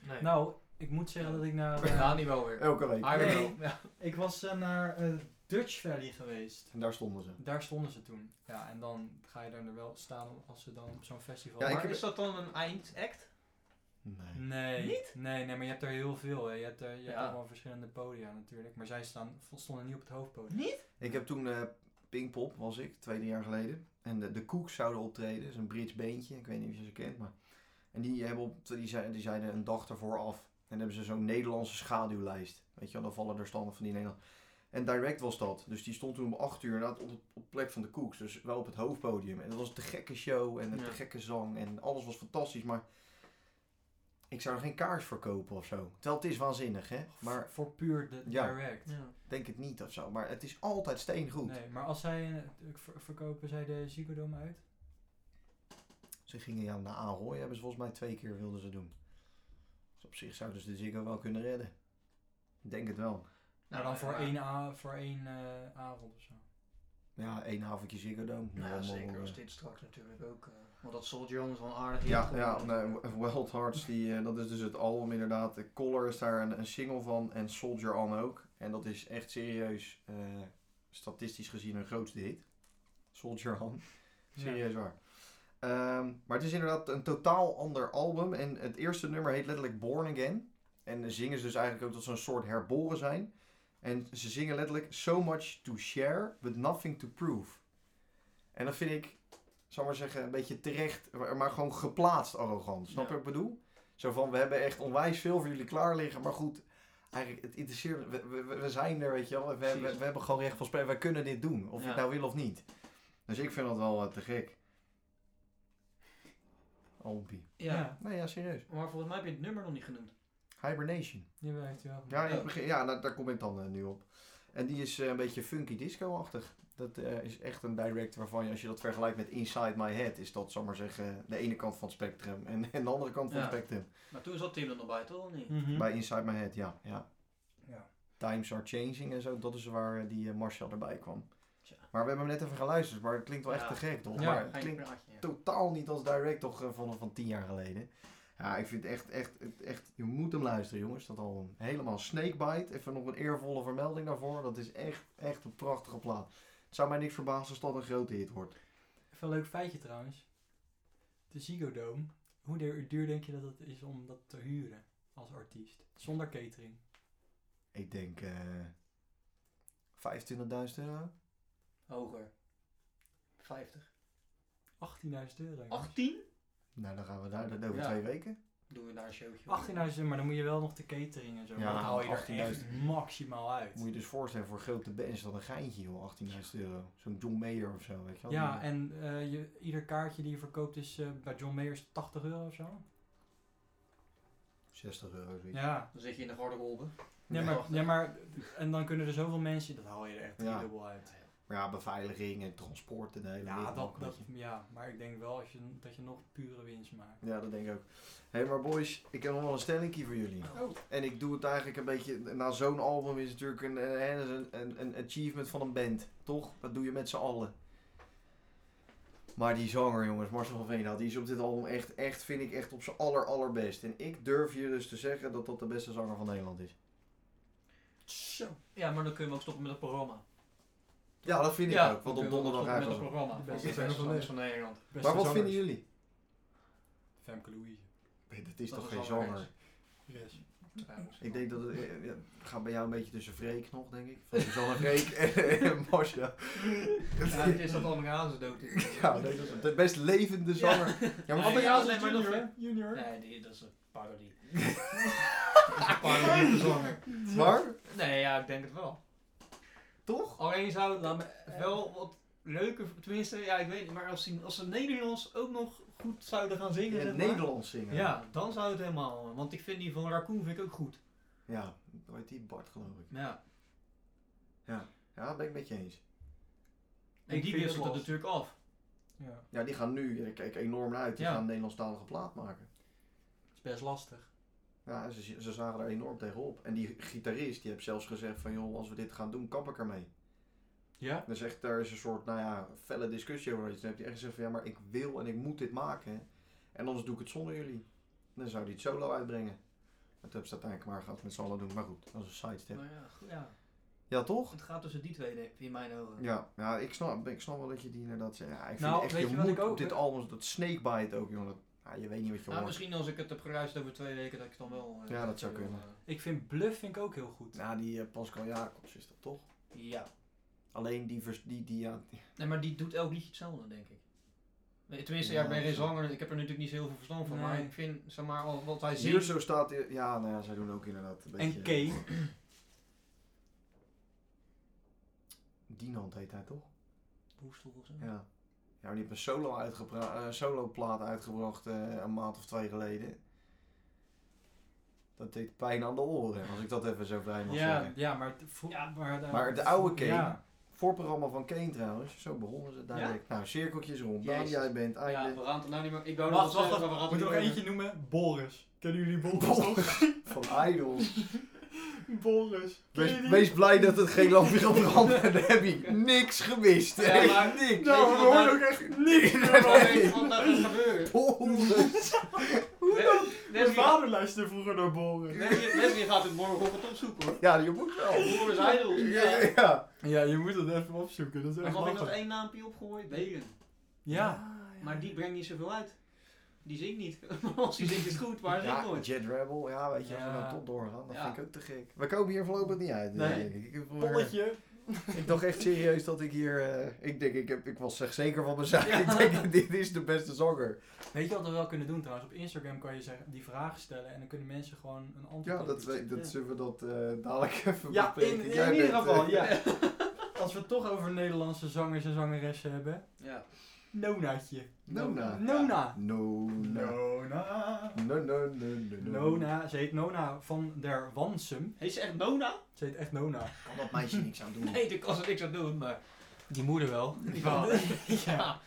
Speaker 2: Nee.
Speaker 1: Nou, ik moet zeggen dat ik naar... eh,
Speaker 2: Dani wel [LAUGHS] weer.
Speaker 3: Elke week.
Speaker 2: Iron
Speaker 1: Nee.
Speaker 2: wel. Ja.
Speaker 1: ik was eh, naar eh, Dutch Valley geweest.
Speaker 3: En daar stonden ze.
Speaker 1: Daar stonden ze toen. Ja, en dan ga je daar er wel staan als ze dan op zo'n festival...
Speaker 3: Ja, ik
Speaker 2: Maar
Speaker 3: heb-
Speaker 2: is dat dan een eindact?
Speaker 3: Nee.
Speaker 1: Nee. Nee, nee, maar je hebt er heel veel. Hè. Je hebt, er, je hebt
Speaker 2: Ja.
Speaker 1: allemaal verschillende podia natuurlijk. Maar zij staan, stonden niet op het hoofdpodium.
Speaker 3: Ik heb toen eh Pinkpop, was ik, twee, drie jaar geleden. En de, de Cooks zouden optreden. Dat is een Brits beentje. Ik weet niet of je ze kent, maar... En die, hebben op, die, zeiden, die zeiden een dag ervoor af. En dan hebben ze zo'n Nederlandse schaduwlijst. Weet je wel, dan vallen er standen van die Nederland. En Direct was dat. Dus die stond toen om acht uur inderdaad op, het, op de plek van de Cooks. Dus wel op het hoofdpodium. En dat was de gekke show en de
Speaker 2: Ja.
Speaker 3: gekke zang. En alles was fantastisch, maar... Ik zou er geen kaars voor kopen of zo. Terwijl het is waanzinnig, hè. Maar
Speaker 1: Maar voor puur de
Speaker 3: Ja. Nou,
Speaker 1: direct.
Speaker 2: Ja.
Speaker 3: denk het niet of zo. Maar het is altijd steengoed.
Speaker 1: Nee, maar als zij eh, ver- verkopen zij de Ziggo Dome uit?
Speaker 3: Ze gingen ja naar Ahoy, hebben ze volgens mij twee keer wilden ze doen. Dus op zich zouden ze de Ziggo wel kunnen redden. Ik denk het wel.
Speaker 1: Nou, dan voor
Speaker 2: eh, ja.
Speaker 1: één, a- voor één eh, avond of zo.
Speaker 3: Ja, één avondje Ziggo Dome.
Speaker 2: Nou,
Speaker 3: Ja,
Speaker 2: zeker
Speaker 3: maar-
Speaker 2: als dit straks natuurlijk ook. eh, want dat Soldier On is wel een aardig.
Speaker 3: eh. Ja,
Speaker 2: hit,
Speaker 3: ja
Speaker 2: eh,
Speaker 3: nee, Wild Hearts, die, eh, dat is dus het album inderdaad. De Color is daar een, een single van en Soldier On ook. En dat is echt serieus, eh, statistisch gezien, hun grootste hit. Soldier On. Serieus waar. Ehm, maar het is inderdaad een totaal ander album. En het eerste nummer heet letterlijk Born Again. En zingen ze dus eigenlijk ook dat ze een soort herboren zijn. En ze zingen letterlijk So much to share, but nothing to prove. En dat vind ik, zal ik maar zeggen, een beetje terecht, maar maar gewoon geplaatst arrogant. Snap je
Speaker 2: Ja.
Speaker 3: wat ik bedoel? Zo van, we hebben echt onwijs veel voor jullie klaar liggen. Maar goed, eigenlijk, het interesseert, we, we, we zijn er, weet je wel. We, we,
Speaker 2: Precies.
Speaker 3: we hebben gewoon recht van spreken, wij kunnen dit doen. Of je het
Speaker 2: Ja.
Speaker 3: nou wil of niet. Dus ik vind dat wel eh, te gek. Albi.
Speaker 2: Ja.
Speaker 1: Ja,
Speaker 3: Nee, ja, serieus.
Speaker 2: Maar volgens mij heb je het nummer nog niet genoemd.
Speaker 3: Hibernation.
Speaker 1: die werkt wel.
Speaker 3: Ja, in het
Speaker 2: Ja.
Speaker 3: begin, ja daar, daar kom ik dan eh, nu op. En die is eh, een beetje funky disco-achtig. Dat eh, is echt een direct waarvan je, als je dat vergelijkt met Inside My Head, is dat, zal ik maar zeggen, de ene kant van het spectrum en, en de andere kant van het
Speaker 2: Ja. Hm.
Speaker 3: spectrum.
Speaker 2: Maar toen zat Tim er nog bij, toch? Of niet?
Speaker 1: Mhm.
Speaker 3: Bij Inside My Head, ja, ja.
Speaker 1: Ja.
Speaker 3: Times are changing en zo, dat is waar eh, die eh, Marcel erbij kwam.
Speaker 2: Tja.
Speaker 3: Maar we hebben hem net even geluisterd, maar het klinkt wel echt
Speaker 2: Ja.
Speaker 3: te gek, toch?
Speaker 1: Ja,
Speaker 3: maar het
Speaker 2: Geen
Speaker 3: klinkt
Speaker 2: praatje, ja.
Speaker 3: totaal niet als direct toch eh, van, van tien jaar geleden. Ja, ik vind echt, echt, het- echt, je moet hem luisteren jongens. Dat al een- helemaal Snakebite. Even nog een eervolle vermelding daarvoor. Dat is echt, echt een prachtige plaat. Het zou mij niks verbazen als dat een grote hit wordt.
Speaker 1: Even een leuk feitje trouwens. De Ziggo Dome, hoe duur, duur denk je dat het is om dat te huren als artiest? Zonder catering.
Speaker 3: Ik denk eh 25.000 euro.
Speaker 2: Hoger. 50.
Speaker 1: 18.000 euro. jongens.
Speaker 2: 18?
Speaker 3: Nou, dan gaan we daar dat over
Speaker 2: Ja.
Speaker 3: twee weken.
Speaker 2: doen we daar een showtje op.
Speaker 1: 18.000 euro, maar dan moet je wel nog de catering en zo.
Speaker 3: Ja,
Speaker 1: dat haal je er
Speaker 3: 18.000.
Speaker 1: echt maximaal uit.
Speaker 3: Moet je dus voorstellen, voor grote bands is dat een geintje, joh. 18.000 euro. Zo'n John Mayer of zo, weet je wel.
Speaker 1: Ja,
Speaker 3: Die-
Speaker 1: en eh, je, ieder kaartje die je verkoopt is eh, bij John Mayers 80 euro of zo.
Speaker 3: 60 euro, zoiets.
Speaker 1: Ja.
Speaker 2: Dan zit je in de garderobe.
Speaker 1: Ja,
Speaker 3: Nee.
Speaker 1: maar,
Speaker 2: Prachtig.
Speaker 1: ja, maar en dan kunnen er zoveel mensen, dat haal je er echt
Speaker 3: Ja.
Speaker 1: dubbel uit.
Speaker 3: Maar ja, beveiliging en transport en de hele
Speaker 1: Ja,
Speaker 3: wereld
Speaker 1: dat,
Speaker 3: ook,
Speaker 1: dat,
Speaker 3: weet je.
Speaker 1: ja, maar ik denk wel als je, dat je nog pure winst maakt.
Speaker 3: Ja, dat denk ik ook. Hé, hey, maar boys, ik heb nog wel een stellingkie voor jullie.
Speaker 1: Oh.
Speaker 3: En ik doe het eigenlijk een beetje... Na zo'n album is het natuurlijk een, eh, een, een, een achievement van een band, toch? Dat doe je met z'n allen. Maar die zanger, jongens, Marcel van Veenhout, die is op dit album echt, echt, vind ik echt op zijn aller, allerbest. En ik durf je dus te zeggen dat dat de beste zanger van Nederland is.
Speaker 1: Zo.
Speaker 2: Ja, maar dan kunnen we ook stoppen met het programma.
Speaker 3: Ja, dat vind ik
Speaker 2: ja,
Speaker 3: ook, want
Speaker 2: dan
Speaker 3: op
Speaker 2: kunnen we ook
Speaker 3: donderdag
Speaker 2: stoppen
Speaker 3: eigenlijk.
Speaker 2: met het
Speaker 1: De
Speaker 2: programma. De
Speaker 1: beste
Speaker 2: beste
Speaker 1: zangers van
Speaker 2: zangers van Nederland.
Speaker 1: Beste
Speaker 3: Maar wat
Speaker 1: zangers.
Speaker 3: vinden jullie?
Speaker 1: Femke Louise.
Speaker 3: Nee, dat is
Speaker 2: Dat
Speaker 3: toch
Speaker 2: is
Speaker 3: geen
Speaker 2: wel
Speaker 3: zanger?
Speaker 1: Yes.
Speaker 3: Oh, Ik denk dat het eh, ja, het gaat bij jou een beetje tussen Freek nog, denk ik. Van Suzanne Freek en [LAUGHS] Marcia.
Speaker 2: Ja, het is dat Amerikaanse dood [LAUGHS] is.
Speaker 3: [LAUGHS] Ja, nee, dat is de best levende zanger. Ja, maar wat ben jij
Speaker 2: Ja,
Speaker 3: als [LAUGHS]
Speaker 2: nee, maar dat-
Speaker 1: Junior, hè? Junior.
Speaker 2: Nee, die- dat is een parodie. dat is een parodie op de zanger.
Speaker 3: Maar,
Speaker 2: Nee, ja, ik denk het wel.
Speaker 3: toch?
Speaker 2: Alleen zou het
Speaker 1: Laat me-
Speaker 2: wel wat leuker, tenminste, ja, ik weet niet, maar als, die- als ze Nederlands ook nog goed zouden gaan
Speaker 3: In
Speaker 2: zingen.
Speaker 3: het
Speaker 2: zeg maar.
Speaker 3: Nederlands zingen.
Speaker 2: Ja, dan zou het helemaal. Want ik vind die van Raccoon vind ik ook goed.
Speaker 3: Ja, hoe heet die? Bart, geloof ik.
Speaker 2: Ja.
Speaker 3: Ja, dat ben ik met je eens.
Speaker 2: En
Speaker 1: Ik
Speaker 2: die
Speaker 1: vind
Speaker 2: wisselt
Speaker 1: het
Speaker 2: het
Speaker 1: wel.
Speaker 2: natuurlijk af.
Speaker 1: Ja,
Speaker 3: Ja, die gaan nu, ik kijk enorm naar uit, die
Speaker 2: Ja.
Speaker 3: gaan een Nederlandstalige plaat maken.
Speaker 1: is best lastig.
Speaker 3: Ja, ze, ze zagen er enorm tegenop. En die gitarist, die heeft zelfs gezegd van, joh, als we dit gaan doen, kap ik ermee.
Speaker 1: Ja?
Speaker 3: Dan zegt daar is een soort, nou ja, felle discussie over iets. Dan heb je echt gezegd van, ja, maar ik wil en ik moet dit maken. En anders doe ik het zonder jullie. Dan zou hij het solo uitbrengen. En toen hebben ze het uiteindelijk maar gaat met z'n allen doen. Maar goed, dat is een sidestep.
Speaker 2: Maar Nou ja, goed, ja,
Speaker 3: Ja, toch?
Speaker 2: het gaat tussen die twee denk ik, in mijn ogen.
Speaker 3: Ja, ja ik, snap, ik snap wel dat je die inderdaad zegt. Ja, ik vind
Speaker 1: Nou,
Speaker 3: echt,
Speaker 1: weet
Speaker 3: je,
Speaker 1: je wat
Speaker 3: moet
Speaker 1: ik ook-
Speaker 3: op dit album, dat snakebite ook, jongen. Dat, ja, je weet niet wat je
Speaker 2: Nou,
Speaker 3: hoort.
Speaker 2: misschien als ik het heb geruist over twee weken, dat ik het dan wel. eh,
Speaker 3: Ja, dat zou
Speaker 2: eh,
Speaker 3: kunnen.
Speaker 1: Ik vind Bluff vind ik ook heel goed.
Speaker 3: Ja, die eh, Pascal Jacobs is dat toch?
Speaker 2: eh, Ja.
Speaker 3: Alleen die, vers, die, die ja,
Speaker 2: Nee, maar die doet elk liedje hetzelfde, denk ik. Nee, Tenminste, ja, ik ben
Speaker 3: Ja,
Speaker 2: geen
Speaker 3: zo.
Speaker 2: zanger, ik heb er natuurlijk niet zo heel veel verstand van, maar
Speaker 1: Nee.
Speaker 2: ik vind, zeg maar, al wat hij
Speaker 3: hier
Speaker 2: zingt.
Speaker 3: zo staat, ja, nou ja, zij doen ook inderdaad een beetje...
Speaker 1: En Kay.
Speaker 3: Dienand heet hij toch?
Speaker 2: Boestel of zo.
Speaker 3: Ja. Ja, maar die heeft een solo uitgepra- eh, solo-plaat uitgebracht eh, een maand of twee geleden. Dat deed pijn aan de oren, als ik dat even zo vrij mag
Speaker 1: Ja,
Speaker 3: zeggen.
Speaker 1: ja, maar, het vro-
Speaker 2: Ja.
Speaker 1: maar, de,
Speaker 3: Maar de oude Kay.
Speaker 1: Ja.
Speaker 3: Voorprogramma van Kane trouwens, zo begonnen ze duidelijk. Nou, cirkeltjes rond. Daan,
Speaker 2: Jezus.
Speaker 3: jij bent einde.
Speaker 2: we gaan het nou niet meer. Ik
Speaker 1: wou
Speaker 2: wou
Speaker 1: nog wat
Speaker 2: nog
Speaker 1: zeggen,
Speaker 2: maar we gaan
Speaker 1: eh, Moet er nog eentje noemen? Boris. Kennen jullie Boris toch?
Speaker 3: [LAUGHS] Van Idols.
Speaker 1: [LAUGHS] Boris. Kennen
Speaker 3: Wees,
Speaker 1: jullie-
Speaker 3: wees blij dat het geen lampje gaat branden. Dan heb je niks gemist.
Speaker 2: Ja,
Speaker 3: Echt
Speaker 2: maar-
Speaker 3: niks.
Speaker 2: Nou, we horen ook
Speaker 3: echt niks.
Speaker 2: Wat nou gaat gebeuren?
Speaker 1: Mijn
Speaker 2: Leslie-
Speaker 1: vader luisterde vroeger naar Boris.
Speaker 2: Leslie Leslie gaat het morgenochtend opzoeken hoor.
Speaker 3: [LAUGHS] Ja, je moet wel.
Speaker 2: Boris Idols. Ja.
Speaker 3: ja.
Speaker 1: Ja, je moet het even opzoeken. Dat is
Speaker 2: Maar
Speaker 1: echt
Speaker 2: had ik nog
Speaker 1: lachen.
Speaker 2: één naampje opgegooid? Belen.
Speaker 1: Ja.
Speaker 2: Maar die brengt niet zoveel uit. Die zingt niet. Als die zingt is het goed, maar hij zingt
Speaker 3: Ja,
Speaker 2: nooit.
Speaker 3: Jet Rebel, ja, weet je, als we
Speaker 1: Ja.
Speaker 3: dan tot doorgaan, dat
Speaker 2: Ja.
Speaker 3: vind ik ook te gek. We komen hier voorlopig niet uit.
Speaker 1: Nee.
Speaker 3: denk ik. Ik, heb voor-
Speaker 1: Polletje.
Speaker 3: ik dacht echt serieus dat ik hier, eh, ik denk, ik, heb, ik was echt zeker van mijn zaak. Ik denk, [LAUGHS] dit is de beste zanger.
Speaker 1: Weet je wat we wel kunnen doen trouwens? Op Instagram kan je zeggen, die vragen stellen en dan kunnen mensen gewoon een antwoord
Speaker 3: Ja,
Speaker 1: op
Speaker 3: dat,
Speaker 1: iets-
Speaker 3: we- dat
Speaker 1: Ja.
Speaker 3: zullen we dat eh, dadelijk even
Speaker 1: Ja, in,
Speaker 3: bespreken.
Speaker 1: in,
Speaker 3: Jij
Speaker 1: ieder
Speaker 3: bent,
Speaker 1: geval,
Speaker 3: eh,
Speaker 1: ja. [LAUGHS] Als we het toch over Nederlandse zangers en zangeressen hebben.
Speaker 2: Ja.
Speaker 1: Nonaatje.
Speaker 3: Nona.
Speaker 1: Nona.
Speaker 3: Nona.
Speaker 1: Nona.
Speaker 3: Nona. Nona.
Speaker 1: Nona. Ze heet Nona van der Wansum.
Speaker 2: Heet ze echt Nona?
Speaker 1: Ze heet echt Nona.
Speaker 3: Kan dat meisje niks aan doen?
Speaker 2: Nee, daar kan ze niks aan doen, maar.
Speaker 1: Die moeder wel.
Speaker 2: Ja.
Speaker 1: ja.
Speaker 2: ja.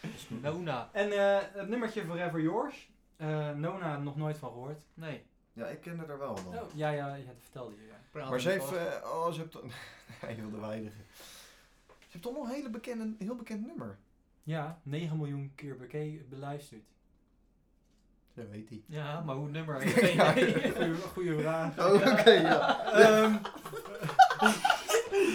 Speaker 2: Nona.
Speaker 1: En eh, het nummertje Forever Yours. Eh, Nona nog nooit van gehoord.
Speaker 2: Nee.
Speaker 3: Ja, ik kende haar wel dan.
Speaker 2: Oh.
Speaker 1: Ja, ja, ja, dat vertelde je. Ja.
Speaker 2: Praat
Speaker 3: Maar ze
Speaker 2: niet
Speaker 3: heeft,
Speaker 2: vast.
Speaker 3: eh, oh, ze heeft, to- [LAUGHS] nee, heel de weinige. Ze heeft toch nog een hele bekende, een heel bekend nummer.
Speaker 1: ja, 9 miljoen keer beke- beluisterd.
Speaker 3: Zo weet hij.
Speaker 2: [LAUGHS] Ja, maar hoe het nummer heet. Geen idee.
Speaker 1: Goeie, goeie
Speaker 2: [LAUGHS]
Speaker 1: vraag.
Speaker 3: Oh, oké,
Speaker 1: [LAUGHS]
Speaker 3: ja.
Speaker 1: Ehm,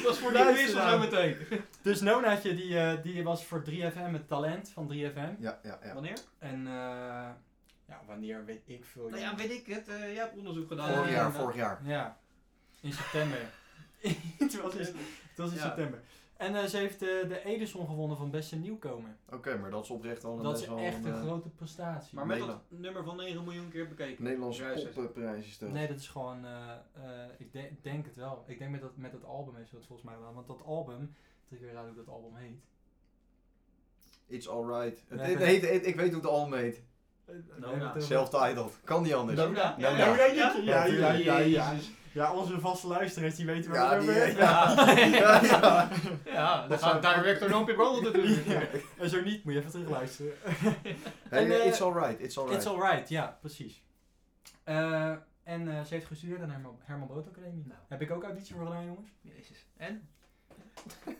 Speaker 2: Dat is voor de
Speaker 1: Luisteraar.
Speaker 2: wissel zo meteen.
Speaker 1: dus Nonaatje die, eh, die was voor 3FM het talent van 3FM.
Speaker 3: Ja, ja, ja.
Speaker 2: Wanneer?
Speaker 1: En eh, ja, wanneer weet ik veel.
Speaker 2: Nou ja, weet ik het. eh, jij hebt onderzoek gedaan.
Speaker 3: Vorig
Speaker 1: Eh,
Speaker 3: jaar,
Speaker 1: ja.
Speaker 3: vorig jaar.
Speaker 1: Ja, in september. [LAUGHS] het was in, het was in
Speaker 2: Ja.
Speaker 1: september. En eh, ze heeft eh, de Edison gewonnen van beste nieuwkomer.
Speaker 3: Oké, maar dat is oprecht al een
Speaker 1: Dat is
Speaker 3: best wel
Speaker 1: echt een
Speaker 3: eh,
Speaker 1: grote prestatie.
Speaker 2: Maar met
Speaker 3: Nederland.
Speaker 2: dat nummer van 9 miljoen keer bekeken. Juist.
Speaker 3: Nederlandse popprijs is dat.
Speaker 1: Nee, dat is gewoon. eh, eh, ik de- denk het wel. Ik denk met dat, met dat album heeft ze dat volgens mij gedaan. Want dat album. Dat ik weer raad hoe dat album heet.
Speaker 3: It's alright. Het,
Speaker 1: Nee.
Speaker 3: het heet- het- ik weet hoe het allemaal heet.
Speaker 1: Eh, we
Speaker 2: Noda.
Speaker 1: hebben het over-
Speaker 3: Self-titled. Kan niet anders.
Speaker 1: Noda.
Speaker 3: Noda.
Speaker 1: Ja, ja, ja, ja, ja, ja, ja.
Speaker 2: Jezus.
Speaker 1: Ja, onze vaste luisteraars die weten
Speaker 3: Ja,
Speaker 1: waar we
Speaker 3: die,
Speaker 1: het over
Speaker 3: [LAUGHS] ja.
Speaker 1: hebben. [LAUGHS]
Speaker 3: Ja, ja.
Speaker 2: Ja, dan
Speaker 3: Dat
Speaker 2: gaat
Speaker 3: zou-
Speaker 2: direct door Nampje [LAUGHS] Brandel natuurlijk.
Speaker 1: Ja. En zo niet, moet je even terugluisteren.
Speaker 3: Hey,
Speaker 1: En, eh,
Speaker 3: it's alright, it's alright.
Speaker 1: It's alright, ja, precies. Eh, en eh, ze heeft gestudeerd aan de Herman, Herman Brood Academie.
Speaker 2: Nou.
Speaker 1: Heb ik ook auditie voor gedaan, jongens.
Speaker 2: Jezus. En?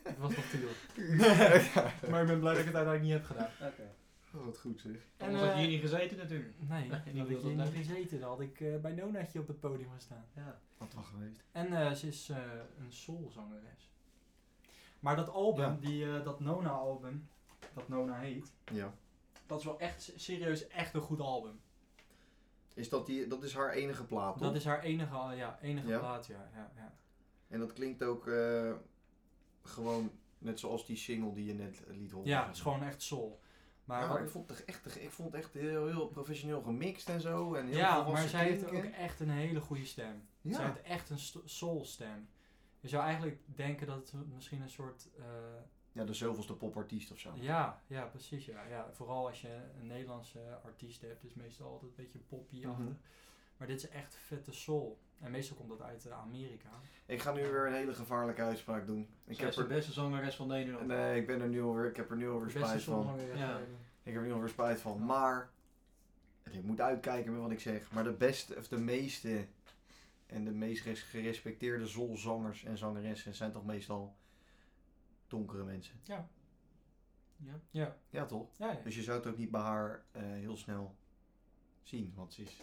Speaker 1: Het was nog te jong.
Speaker 3: [LAUGHS] Ja.
Speaker 1: Maar ik ben blij dat ik het uiteindelijk niet heb gedaan.
Speaker 2: Oké.
Speaker 3: Oh, wat goed zeg.
Speaker 1: En,
Speaker 2: Anders had je
Speaker 1: eh,
Speaker 2: hier niet gezeten natuurlijk.
Speaker 1: Nee,
Speaker 2: Nee,
Speaker 1: dat
Speaker 2: die
Speaker 1: had
Speaker 2: wil
Speaker 1: ik
Speaker 2: dat
Speaker 1: hier niet
Speaker 2: niet.
Speaker 1: gezeten. Dan had ik eh, bij Nonaatje op het podium gestaan.
Speaker 2: Ja.
Speaker 3: Wat wel geweest.
Speaker 1: En eh, ze is eh, een soulzangeres. Maar dat album,
Speaker 3: Ja.
Speaker 1: die, eh, dat Nona-album, dat Nona heet,
Speaker 3: Ja.
Speaker 1: dat is wel echt s- serieus echt een goed album.
Speaker 3: Is dat, die, dat is haar enige plaat, toch?
Speaker 1: Dat is haar enige, al- ja, enige
Speaker 3: Ah, Ja?
Speaker 1: plaat, ja. ja, ja.
Speaker 3: En dat klinkt ook eh, gewoon net zoals die single die je net eh, liet horen.
Speaker 1: ja, het is gewoon echt soul. Maar
Speaker 3: Ja,
Speaker 1: wat-
Speaker 3: maar ik vond het echt, ik vond het echt heel, heel professioneel gemixt en zo. En heel
Speaker 1: ja,
Speaker 3: volwassen
Speaker 1: maar zij heeft ook
Speaker 3: klinken.
Speaker 1: echt een hele goede stem. Zij
Speaker 3: Ja.
Speaker 1: heeft echt een st- soul-stem. Je zou eigenlijk denken dat het misschien een soort... eh,
Speaker 3: ja, de zoveelste popartiest of zo.
Speaker 1: Ja, ja, precies. Ja. Ja, vooral als je een Nederlandse artiest hebt, is meestal altijd een beetje poppy achter.
Speaker 3: Mhm.
Speaker 1: Maar dit is echt vette soul. En meestal komt dat uit eh, Amerika.
Speaker 3: Ik ga nu weer een hele gevaarlijke uitspraak doen. Ik
Speaker 2: Zij is
Speaker 3: heb
Speaker 2: de
Speaker 3: er,
Speaker 2: beste zangeres van Nederland.
Speaker 3: nee, ik ben er nu alweer, ik heb er nu alweer
Speaker 1: Beste
Speaker 3: spijt van.
Speaker 1: songzanger.
Speaker 2: Ja.
Speaker 1: eh,
Speaker 3: Ik heb er nu alweer spijt van. Maar, en ik moet uitkijken met wat ik zeg, maar de beste, of de meeste en de meest ges- gerespecteerde zolzangers en zangeressen zijn toch meestal donkere mensen.
Speaker 2: Ja.
Speaker 1: Ja,
Speaker 3: Ja, toch?
Speaker 1: ja,
Speaker 3: [LAUGHS]
Speaker 1: ja.
Speaker 3: Dus je zou het ook niet bij haar eh, heel snel zien, want ze is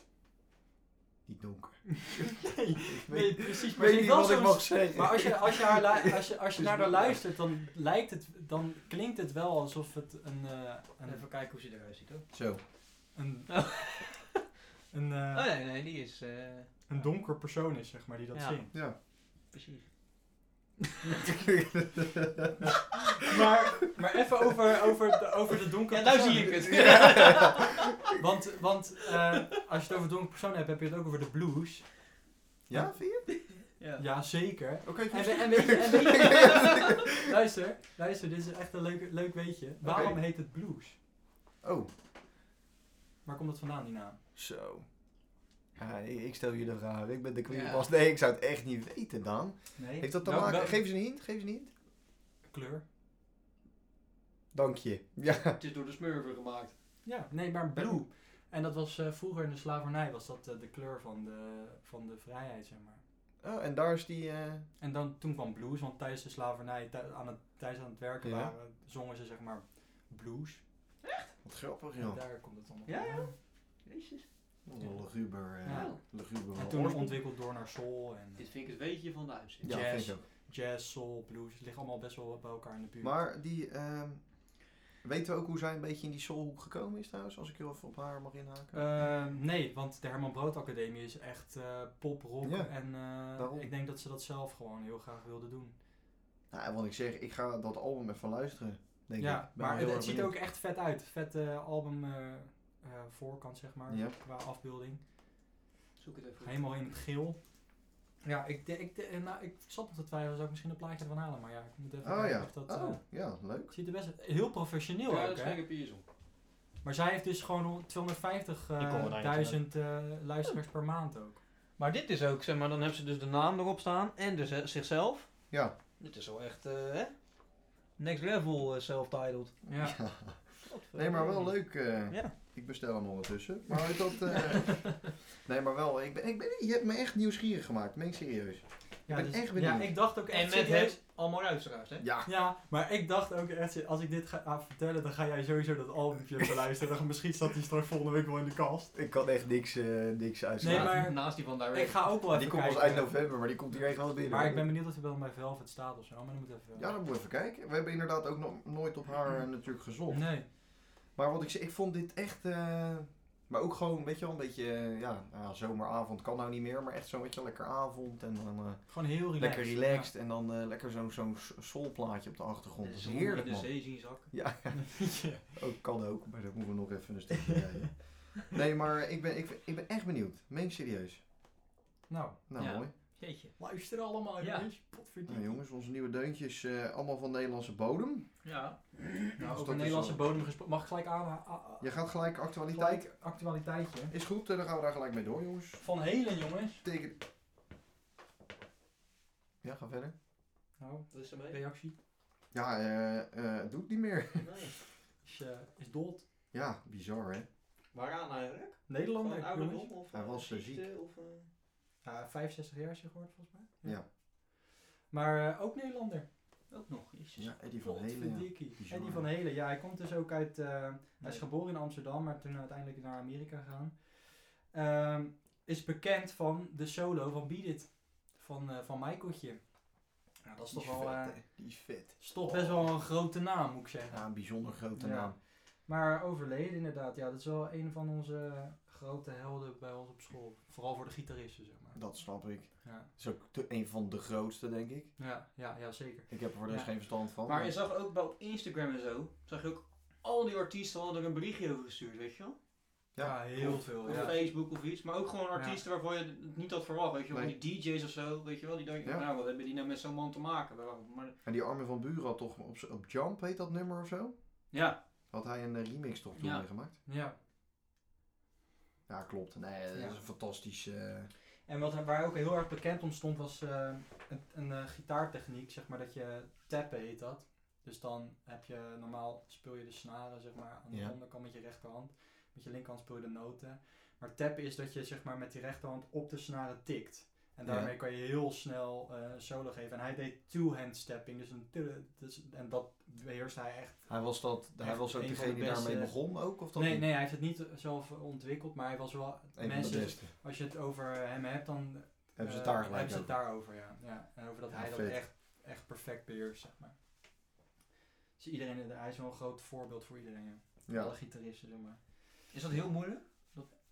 Speaker 3: niet donker.
Speaker 1: Nee, nee, precies.
Speaker 3: Ik
Speaker 1: Maar, ze
Speaker 3: weet
Speaker 1: heeft
Speaker 3: niet
Speaker 1: wel
Speaker 3: wat ik
Speaker 1: zo'n-
Speaker 3: mag zeggen.
Speaker 1: maar als je, als je, haar lu- als
Speaker 3: [LAUGHS]
Speaker 1: je, als je
Speaker 3: Dus
Speaker 1: naar haar
Speaker 3: moeilijk.
Speaker 1: luistert, dan, lijkt het, dan klinkt het wel alsof het een... eh,
Speaker 2: En
Speaker 1: een,
Speaker 2: even kijken hoe ze eruit ziet hoor.
Speaker 3: [LAUGHS] Zo.
Speaker 2: [LAUGHS]
Speaker 1: een, een, eh,
Speaker 2: Oh nee, nee, die is... eh,
Speaker 1: een donker persoon is, zeg maar, die dat
Speaker 2: Ja.
Speaker 1: zingt.
Speaker 3: Ja.
Speaker 2: Precies.
Speaker 1: Maar, maar even over, over, de, over de donkere
Speaker 2: Ja, nou
Speaker 1: persoon.
Speaker 2: zie ik het. [LAUGHS]
Speaker 1: Want, want eh, als je het over donkere personen hebt, heb je het ook over de blues.
Speaker 3: ja, vind je?
Speaker 2: Ja.
Speaker 1: Ja, zeker.
Speaker 3: Oké,
Speaker 1: En, we-
Speaker 3: goed.
Speaker 1: en weet je, en weet je-
Speaker 2: [LAUGHS]
Speaker 1: luister, luister, dit is echt een leuk, leuk weetje. Waarom
Speaker 3: Oké.
Speaker 1: heet het blues?
Speaker 3: Oh,
Speaker 1: Waar komt het vandaan, die naam?
Speaker 3: zo. Ja, ik, ik stel je de vraag. Ik ben de queen
Speaker 2: Ja.
Speaker 3: was. Nee, ik zou het echt niet weten, Daan.
Speaker 1: Nee.
Speaker 3: Heeft dat te
Speaker 1: Nou,
Speaker 3: maken?
Speaker 1: wel-
Speaker 3: Geef eens een hint, geef eens een hint.
Speaker 1: Kleur?
Speaker 3: Dank je. [LAUGHS] Ja.
Speaker 2: Het is door de smurven gemaakt.
Speaker 1: Ja, nee, maar blue. En dat was eh, vroeger in de slavernij, was dat eh, de kleur van de, van de vrijheid, zeg maar.
Speaker 3: Oh, en daar is die... eh,
Speaker 1: En dan, toen kwam blues, want tijdens de slavernij, tij- aan het, tijdens aan het werken
Speaker 3: Ja.
Speaker 1: waren, zongen ze zeg maar blues.
Speaker 3: Wat grappig,
Speaker 1: En
Speaker 3: joh.
Speaker 1: daar komt het allemaal
Speaker 2: Ja, ja.
Speaker 1: vandaan.
Speaker 2: Jezus.
Speaker 3: Wat een luguber. eh,
Speaker 1: Ja.
Speaker 3: luguber
Speaker 1: En toen
Speaker 3: oorsprong.
Speaker 1: ontwikkeld door naar soul en
Speaker 2: Dit vind ik het weetje van de uitzending.
Speaker 3: Ja,
Speaker 1: jazz.
Speaker 3: vind ik ook.
Speaker 1: jazz, soul, blues. Het ligt allemaal best wel bij elkaar in de buurt.
Speaker 3: Maar die... ehm, weten we ook hoe zij een beetje in die soulhoek gekomen is trouwens? Als ik heel even op haar mag inhaken.
Speaker 1: Eh, nee, want de Herman Brood Academie is echt eh pop, rock
Speaker 3: Ja,
Speaker 1: en eh,
Speaker 3: daarom.
Speaker 1: ik denk dat ze dat zelf gewoon heel graag wilden doen.
Speaker 3: Nou, want ik zeg, ik ga dat album even luisteren. Denk ik.
Speaker 1: ja,
Speaker 3: Ben wel
Speaker 1: maar
Speaker 3: heel
Speaker 1: het, het
Speaker 3: erg
Speaker 1: ziet er
Speaker 3: benieuwd.
Speaker 1: ook echt vet uit. Vet eh, album eh, eh, voorkant, zeg maar,
Speaker 3: Ja.
Speaker 1: qua afbeelding.
Speaker 2: Zoek het even. op.
Speaker 1: Helemaal in het geel. Ja, ik, de- ik, de- eh, nou, ik zat nog te twijfelen, zou ik misschien een plaatje ervan halen, maar ja, ik moet even
Speaker 3: Oh
Speaker 1: kijken
Speaker 3: ja.
Speaker 1: of dat...
Speaker 3: oh,
Speaker 1: eh,
Speaker 3: ja, leuk.
Speaker 1: het ziet er best heel professioneel
Speaker 2: Ja,
Speaker 1: ook,
Speaker 2: dat
Speaker 1: hè?
Speaker 2: is een piers op.
Speaker 1: Maar zij heeft dus gewoon
Speaker 2: Die komen er
Speaker 1: 250.000
Speaker 2: duizend,
Speaker 1: duizend eh, luisteraars per maand ook.
Speaker 2: Maar dit is ook, zeg maar, dan hebben ze dus de naam erop staan en dus eh, zichzelf.
Speaker 3: Ja.
Speaker 2: Dit is wel echt, eh, hè? Next level eh, self-titled.
Speaker 1: Ja.
Speaker 3: Nee, maar wel leuk. eh,
Speaker 2: Ja.
Speaker 3: Ik bestel hem ondertussen. Maar uit dat... eh,
Speaker 1: [LAUGHS]
Speaker 3: nee, maar wel. Ik ben, ik ben, je hebt me echt nieuwsgierig gemaakt. Meen ik serieus.
Speaker 1: Ja,
Speaker 3: ben echt benieuwd.
Speaker 1: Ja, ik dacht ook echt
Speaker 2: En met
Speaker 1: serieus-
Speaker 2: het allemaal luisteraars, hè?
Speaker 3: Ja.
Speaker 1: Ja, maar ik dacht ook echt, serieus, als ik dit ga aan vertellen, dan ga jij sowieso dat albumje beluisteren. Misschien staat die straks volgende week wel in de kast.
Speaker 3: Ik kan echt niks, eh niks
Speaker 1: Nee,
Speaker 3: uitsluiten.
Speaker 2: Naast-
Speaker 1: maar-
Speaker 2: Naast die van Direct.
Speaker 1: Ik ga ook wel even
Speaker 3: die komt pas
Speaker 1: kijken.
Speaker 3: eind november, maar die komt hier echt wel binnen.
Speaker 1: Maar ik
Speaker 3: hoor.
Speaker 1: ben benieuwd of hij wel bij Velvet staat of zo, maar dan moet even...
Speaker 3: Ja, dan moeten we even kijken. We hebben inderdaad ook nog nooit op haar eh, natuurlijk gezocht.
Speaker 1: Nee.
Speaker 3: Maar wat ik, ze- ik vond dit echt eh, Maar ook gewoon, weet je wel, een beetje, eh, ja, nou ja, zomeravond kan nou niet meer, maar echt zo'n beetje lekker avond. En dan eh,
Speaker 1: Gewoon heel relaxed.
Speaker 3: lekker relaxed en dan eh, lekker zo'n zo'n s- soulplaatje op de achtergrond.
Speaker 2: De
Speaker 3: Dat is
Speaker 2: zon
Speaker 3: heerlijk,
Speaker 2: in de
Speaker 3: man.
Speaker 2: zee zien zakken.
Speaker 3: Ja,
Speaker 1: Ja.
Speaker 3: ook, kan ook, maar dat moeten we nog even een stukje rijden. Nee, maar ik ben, ik, ik ben echt benieuwd. Meen ik serieus.
Speaker 1: Nou,
Speaker 3: Nou,
Speaker 2: Ja.
Speaker 3: mooi.
Speaker 2: Jeetje.
Speaker 1: luister allemaal
Speaker 2: Ja.
Speaker 1: jongens. Potverdien.
Speaker 3: Nou jongens, onze nieuwe deuntjes, eh, allemaal van Nederlandse bodem.
Speaker 2: Ja.
Speaker 3: dat
Speaker 1: Nou,
Speaker 3: is
Speaker 1: over Nederlandse
Speaker 3: wel-
Speaker 1: bodem gesproken. Mag ik gelijk aan... a- a-
Speaker 3: Je gaat gelijk actualiteit.
Speaker 1: gelijk actualiteitje.
Speaker 3: Is goed, eh, dan gaan we daar gelijk mee door, jongens.
Speaker 1: Van Helen, jongens.
Speaker 3: Teken... Ja, ga verder.
Speaker 1: Nou,
Speaker 2: Dat is ermee.
Speaker 1: reactie.
Speaker 3: Ja, eh, eh, het doet niet meer. [LAUGHS]
Speaker 2: Nee.
Speaker 1: Is, eh is dood.
Speaker 3: Ja, bizar hè.
Speaker 2: Waaraan eigenlijk?
Speaker 1: Nederlander, jongens.
Speaker 2: of
Speaker 3: Hij eh, was, eh, ziekte,
Speaker 2: Of,
Speaker 1: Ja, 65 jaar is je geworden, volgens mij.
Speaker 3: Ja.
Speaker 1: Maar eh, ook Nederlander.
Speaker 2: Ook nog, jezus.
Speaker 3: Ja, Eddie van Helen. ja.
Speaker 1: Potverdikkie.
Speaker 3: Bizar.
Speaker 1: Eddie van Helen. Ja, hij komt dus ook uit... eh, Hij is
Speaker 2: Nee.
Speaker 1: geboren in Amsterdam, maar toen uiteindelijk naar Amerika gegaan. Ehm, is bekend van de solo van Beat It. Van, eh van Michaeltje. Nou, dat is
Speaker 3: Die
Speaker 1: toch
Speaker 3: is
Speaker 1: wel... eh,
Speaker 3: vet, hè. Die is vet.
Speaker 1: is toch best wel een grote naam, moet ik zeggen.
Speaker 3: Ja, een bijzonder grote
Speaker 1: Ja.
Speaker 3: naam.
Speaker 1: Maar overleden inderdaad, ja, dat is wel een van onze grote helden bij ons op school. Vooral voor de gitaristen, zeg maar.
Speaker 3: Dat snap ik.
Speaker 1: Ja,
Speaker 3: is ook de- een van de grootste, denk ik.
Speaker 1: ja, ja, ja zeker.
Speaker 3: Ik heb er voor de rest
Speaker 2: Ja.
Speaker 3: geen verstand van.
Speaker 2: Maar je zag ook bij op Instagram en zo, zag je ook al die artiesten hadden er een berichtje over gestuurd, weet je wel?
Speaker 3: Ja,
Speaker 1: heel
Speaker 2: of-
Speaker 1: veel.
Speaker 2: Op
Speaker 1: Ja.
Speaker 2: Facebook of iets, maar ook gewoon artiesten waarvan je het niet had verwacht, weet je wel?
Speaker 3: Nee.
Speaker 2: Die DJ's of zo, weet je wel? Die denk je,
Speaker 3: Ja.
Speaker 2: nou, wat hebben die nou met zo'n man te maken? Waarom- Maar,
Speaker 3: En die Armin van Buren had toch op, z- op Jump, heet dat nummer of zo?
Speaker 2: ja,
Speaker 3: Had hij een eh, remix toch toen
Speaker 2: Ja.
Speaker 3: mee gemaakt?
Speaker 1: ja.
Speaker 3: Ja, klopt. Nee, dat
Speaker 1: Ja.
Speaker 3: is een fantastische... eh,
Speaker 1: En wat, waar ook heel erg bekend om stond was eh, een, een eh, gitaartechniek, zeg maar, dat je tappen heet dat. Dus dan heb je normaal speel je de snaren, zeg maar, aan de
Speaker 3: Ja.
Speaker 1: onderkant met je rechterhand. Met je linkerhand speel je de noten. Maar tappen is dat je, zeg maar, met die rechterhand op de snaren tikt. En
Speaker 3: Ja.
Speaker 1: daarmee kan je heel snel eh, een solo geven. En hij deed two-hand stepping, dus een tudu- dus, en dat beheerste hij echt.
Speaker 3: Hij was, dat, hij
Speaker 1: Echt
Speaker 3: was ook
Speaker 1: een van de
Speaker 3: degene die daarmee
Speaker 1: beste-
Speaker 3: begon ook? Of dat
Speaker 1: Nee,
Speaker 3: niet?
Speaker 1: nee, hij heeft het niet zelf ontwikkeld, maar hij was wel...
Speaker 3: Een van de
Speaker 1: mensen,
Speaker 3: beste.
Speaker 1: als je het over hem hebt, dan
Speaker 3: Hebben ze het
Speaker 1: Eh,
Speaker 3: daar gelijk
Speaker 1: Hebben ze het
Speaker 3: over?
Speaker 1: daarover, ja. ja. En over dat
Speaker 3: Ja,
Speaker 1: hij dat
Speaker 3: vet.
Speaker 1: echt, echt perfect beheerst, zeg maar. Dus iedereen, hij is wel een groot voorbeeld voor iedereen, ja. Alle
Speaker 3: Ja.
Speaker 1: gitaristen, zeg maar.
Speaker 2: is dat heel moeilijk?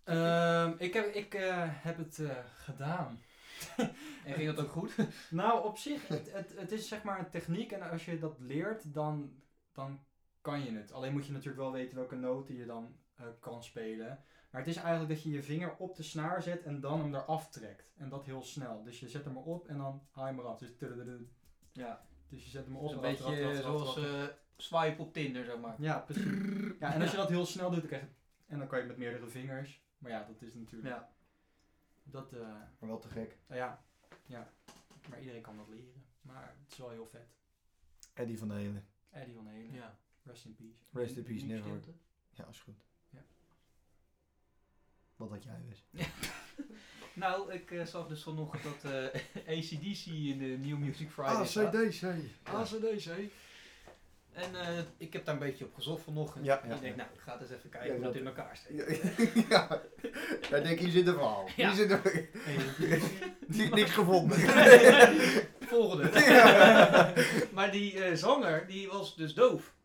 Speaker 1: Ehm, ik heb, ik, eh, heb het eh, gedaan. [LAUGHS]
Speaker 2: En ging dat ook goed?
Speaker 1: Nou, op zich, het, het, het is zeg maar een techniek en als je dat leert, dan, dan kan je het. Alleen moet je natuurlijk wel weten welke noten je dan eh, kan spelen. Maar het is eigenlijk dat je je vinger op de snaar zet en dan hem eraf trekt. En dat heel snel. Dus je zet hem erop en dan haal je hem eraf. Dus tudududu.
Speaker 2: [LAUGHS] Ja,
Speaker 1: Dus je zet hem op.
Speaker 2: een
Speaker 1: en
Speaker 2: beetje
Speaker 1: rad, rad, rad, rad,
Speaker 2: zoals
Speaker 1: rad.
Speaker 2: eh, swipe op Tinder, zeg maar.
Speaker 1: Ja, precies. Ja, en als je dat heel snel doet, dan krijg je... En dan kan je met meerdere vingers. Maar ja, dat is natuurlijk...
Speaker 2: Ja.
Speaker 1: Dat, eh,
Speaker 3: Maar wel te gek.
Speaker 1: nou ja, ja. Maar iedereen kan dat leren. Maar het is wel heel vet.
Speaker 3: Eddie van de Helen.
Speaker 1: Eddie van Helen.
Speaker 2: ja.
Speaker 1: Rest in peace.
Speaker 3: Rest in peace,
Speaker 2: Nu
Speaker 3: never.
Speaker 2: stilte.
Speaker 3: Ja, is goed.
Speaker 1: Ja.
Speaker 3: Wat had jij dus?
Speaker 2: Nou, ik eh, zag dus vanochtend dat eh [LAUGHS] ACDC in de New Music Friday staat.
Speaker 3: ACDC.
Speaker 2: ACDC. En eh, ik heb daar een beetje op gezocht vanochtend.
Speaker 3: Ja,
Speaker 2: En
Speaker 3: ja,
Speaker 2: ik denk,
Speaker 3: ja.
Speaker 2: nou, ik ga eens even
Speaker 3: Ja,
Speaker 2: kijken hoe
Speaker 3: dat-
Speaker 2: dat in elkaar steekt.
Speaker 3: Ja, [LAUGHS] ja. ja, ik denk hier zit een verhaal.
Speaker 2: Ja.
Speaker 3: Hier zit een... [LAUGHS] Die heeft niks
Speaker 2: [LAUGHS]
Speaker 3: gevonden.
Speaker 2: [LAUGHS] Volgende. [LAUGHS] maar die eh, zanger, die was dus doof.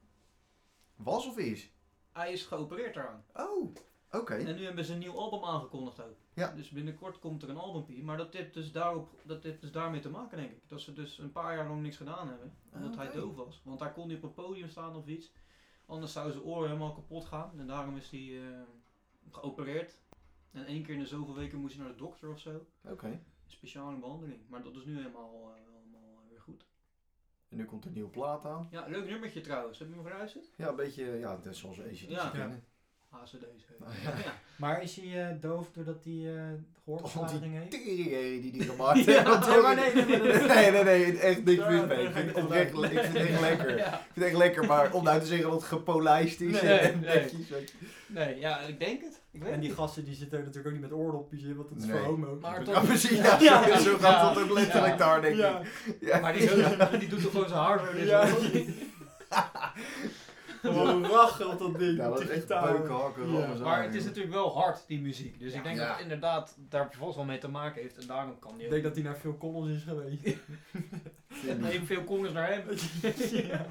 Speaker 3: Was of is?
Speaker 2: Hij is geopereerd eraan.
Speaker 3: Oh, oké.
Speaker 2: En nu hebben ze een nieuw album aangekondigd ook.
Speaker 3: Ja.
Speaker 2: Dus binnenkort komt er een albumpie. Maar dat heeft, dus daarop, dat heeft dus daarmee te maken, denk ik. Dat ze dus een paar jaar lang niks gedaan hebben. Omdat
Speaker 3: Oké.
Speaker 2: hij doof was. Want hij kon niet op een podium staan of iets. Anders zou zijn oren helemaal kapot gaan. En daarom is hij eh, geopereerd. En één keer in de zoveel weken moest hij naar de dokter of zo. Een
Speaker 3: Oké.
Speaker 2: speciale behandeling. Maar dat is nu helemaal, eh, helemaal weer goed.
Speaker 3: En nu komt een nieuwe plaat aan.
Speaker 2: Ja, leuk nummertje trouwens. Heb je hem geluisterd?
Speaker 3: Ja, een beetje, ja, net zoals ACDC
Speaker 2: Ja.
Speaker 3: kennen.
Speaker 2: ACD's. hè.
Speaker 3: Nou ja.
Speaker 2: Ja.
Speaker 1: Maar is hij eh, doof doordat hij eh
Speaker 3: Oh,
Speaker 1: gehoorverklaring heeft?
Speaker 3: Tering, hé, die die gemaakt
Speaker 2: Ja,
Speaker 3: Dat
Speaker 1: nee,
Speaker 3: ook-
Speaker 1: maar nee, nee, nee, nee.
Speaker 3: [LAUGHS] nee, nee, nee, echt niks
Speaker 1: Ja,
Speaker 3: mis mee.
Speaker 1: daar
Speaker 3: Ik
Speaker 1: ga ik
Speaker 3: vind het
Speaker 1: niet
Speaker 3: oprecht
Speaker 1: vanuit.
Speaker 3: le- ik vind het echt lekker. Ik
Speaker 2: [LAUGHS] Ja.
Speaker 3: vind het echt lekker, maar om nou te zeggen dat het gepolijst is
Speaker 2: Nee,
Speaker 3: en
Speaker 2: nee.
Speaker 3: netjes, weet je.
Speaker 2: Nee, ja, ik denk het. Ik weet
Speaker 1: En
Speaker 2: het.
Speaker 1: die gasten die zitten natuurlijk ook niet met oordopjes in, want dat is
Speaker 3: Nee.
Speaker 1: voor homo.
Speaker 2: Maar
Speaker 3: Ja,
Speaker 2: toch-
Speaker 3: precies. Ja,
Speaker 1: Ja.
Speaker 3: zo- Zo gaat dat ook
Speaker 2: Ja.
Speaker 3: letterlijk
Speaker 2: Ja.
Speaker 3: daar, denk ik.
Speaker 2: [LAUGHS]
Speaker 3: Ja.
Speaker 2: Maar die, doet- die doet toch gewoon zijn haar zo. dit
Speaker 1: Ja. [LAUGHS]
Speaker 2: hoor.
Speaker 1: Wat een rachel op dat ding.
Speaker 3: Ja, dat
Speaker 1: met
Speaker 3: is
Speaker 1: die
Speaker 3: echt
Speaker 1: gitaar.
Speaker 3: beuken hakken.
Speaker 1: Ja.
Speaker 3: rammen zo
Speaker 2: Maar
Speaker 3: aan,
Speaker 2: het is
Speaker 3: joh.
Speaker 2: natuurlijk wel hard, die muziek. Dus
Speaker 1: Ja.
Speaker 2: ik denk
Speaker 3: Ja.
Speaker 2: dat het inderdaad daar vervolgens wel mee te maken heeft. En daarom kan die
Speaker 1: Ik
Speaker 2: ook.
Speaker 1: denk dat hij naar Phil Collins is geweest.
Speaker 2: evenveel congers naar hem.
Speaker 1: [LAUGHS] ja.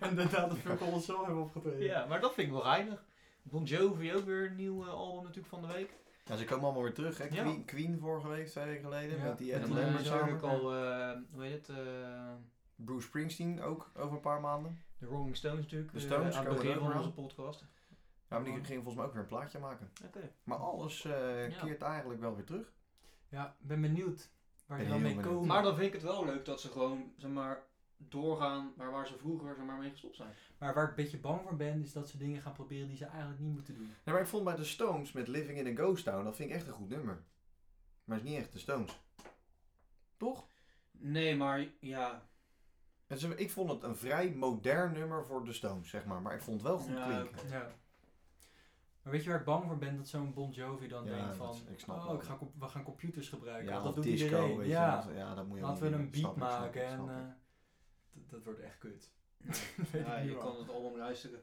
Speaker 1: En daarna dat Phil Collins zelf heeft opgetreden.
Speaker 2: Ja, maar dat vind ik wel geinig. Bon Jovi ook weer een nieuw eh, album natuurlijk van de week.
Speaker 3: Ja, ze komen allemaal weer terug. Hè?
Speaker 2: Ja.
Speaker 3: Queen, Queen vorige week, twee weken geleden.
Speaker 1: Ja.
Speaker 3: Met die
Speaker 1: En
Speaker 2: En
Speaker 3: Ed
Speaker 2: dan
Speaker 1: die
Speaker 2: hebben
Speaker 3: Lambert
Speaker 2: we
Speaker 1: Lambert
Speaker 3: samen.
Speaker 2: natuurlijk al, eh, hoe heet het, eh,
Speaker 3: Bruce Springsteen ook over een paar maanden.
Speaker 2: de Rolling Stones natuurlijk.
Speaker 3: De
Speaker 2: eh,
Speaker 3: Stones
Speaker 2: aan
Speaker 3: komen
Speaker 2: het begin
Speaker 3: ook
Speaker 2: van
Speaker 3: nog.
Speaker 2: onze podcast.
Speaker 3: Ja, maar die ging volgens mij ook weer een plaatje maken.
Speaker 2: Oké.
Speaker 3: Maar alles eh,
Speaker 2: Ja.
Speaker 3: keert eigenlijk wel weer terug.
Speaker 1: Ja, ik ben benieuwd waar die
Speaker 3: Ben
Speaker 1: dan
Speaker 3: heel
Speaker 1: mee
Speaker 3: benieuwd.
Speaker 1: komen.
Speaker 2: Maar dan vind ik het wel leuk dat ze gewoon, zeg maar, doorgaan waar, waar ze vroeger, zeg maar, mee gestopt zijn.
Speaker 1: Maar waar ik een beetje bang voor ben, is dat ze dingen gaan proberen die ze eigenlijk niet moeten doen.
Speaker 3: Ja, maar ik vond bij de Stones met Living in a Ghost Town, dat vind ik echt een goed nummer. Maar het is niet echt de Stones. Toch?
Speaker 2: Nee, maar ja.
Speaker 3: Het is een- ik vond het een vrij modern nummer voor de Stones, zeg maar. Maar ik vond het wel goed
Speaker 2: Ja,
Speaker 3: klinken.
Speaker 1: Ja. Maar weet je waar ik bang voor ben? Dat zo'n Bon Jovi dan
Speaker 3: Ja,
Speaker 1: denkt
Speaker 3: dat-
Speaker 1: van,
Speaker 3: ik snap
Speaker 1: oh,
Speaker 3: wel.
Speaker 1: ik ga, comp- we gaan computers gebruiken.
Speaker 3: Ja,
Speaker 1: want
Speaker 3: of
Speaker 1: dat doet
Speaker 3: disco,
Speaker 1: iedereen.
Speaker 3: weet je.
Speaker 1: ja.
Speaker 3: dat- ja, dat moet je
Speaker 1: Laten we
Speaker 3: allemaal
Speaker 1: een
Speaker 3: niet
Speaker 1: beat
Speaker 3: doen. Snap ik, snap ik,
Speaker 1: maken en
Speaker 3: snap ik.
Speaker 1: eh, dat- dat wordt echt kut. [LAUGHS]
Speaker 2: ja, je kan
Speaker 1: kan
Speaker 2: het album luisteren.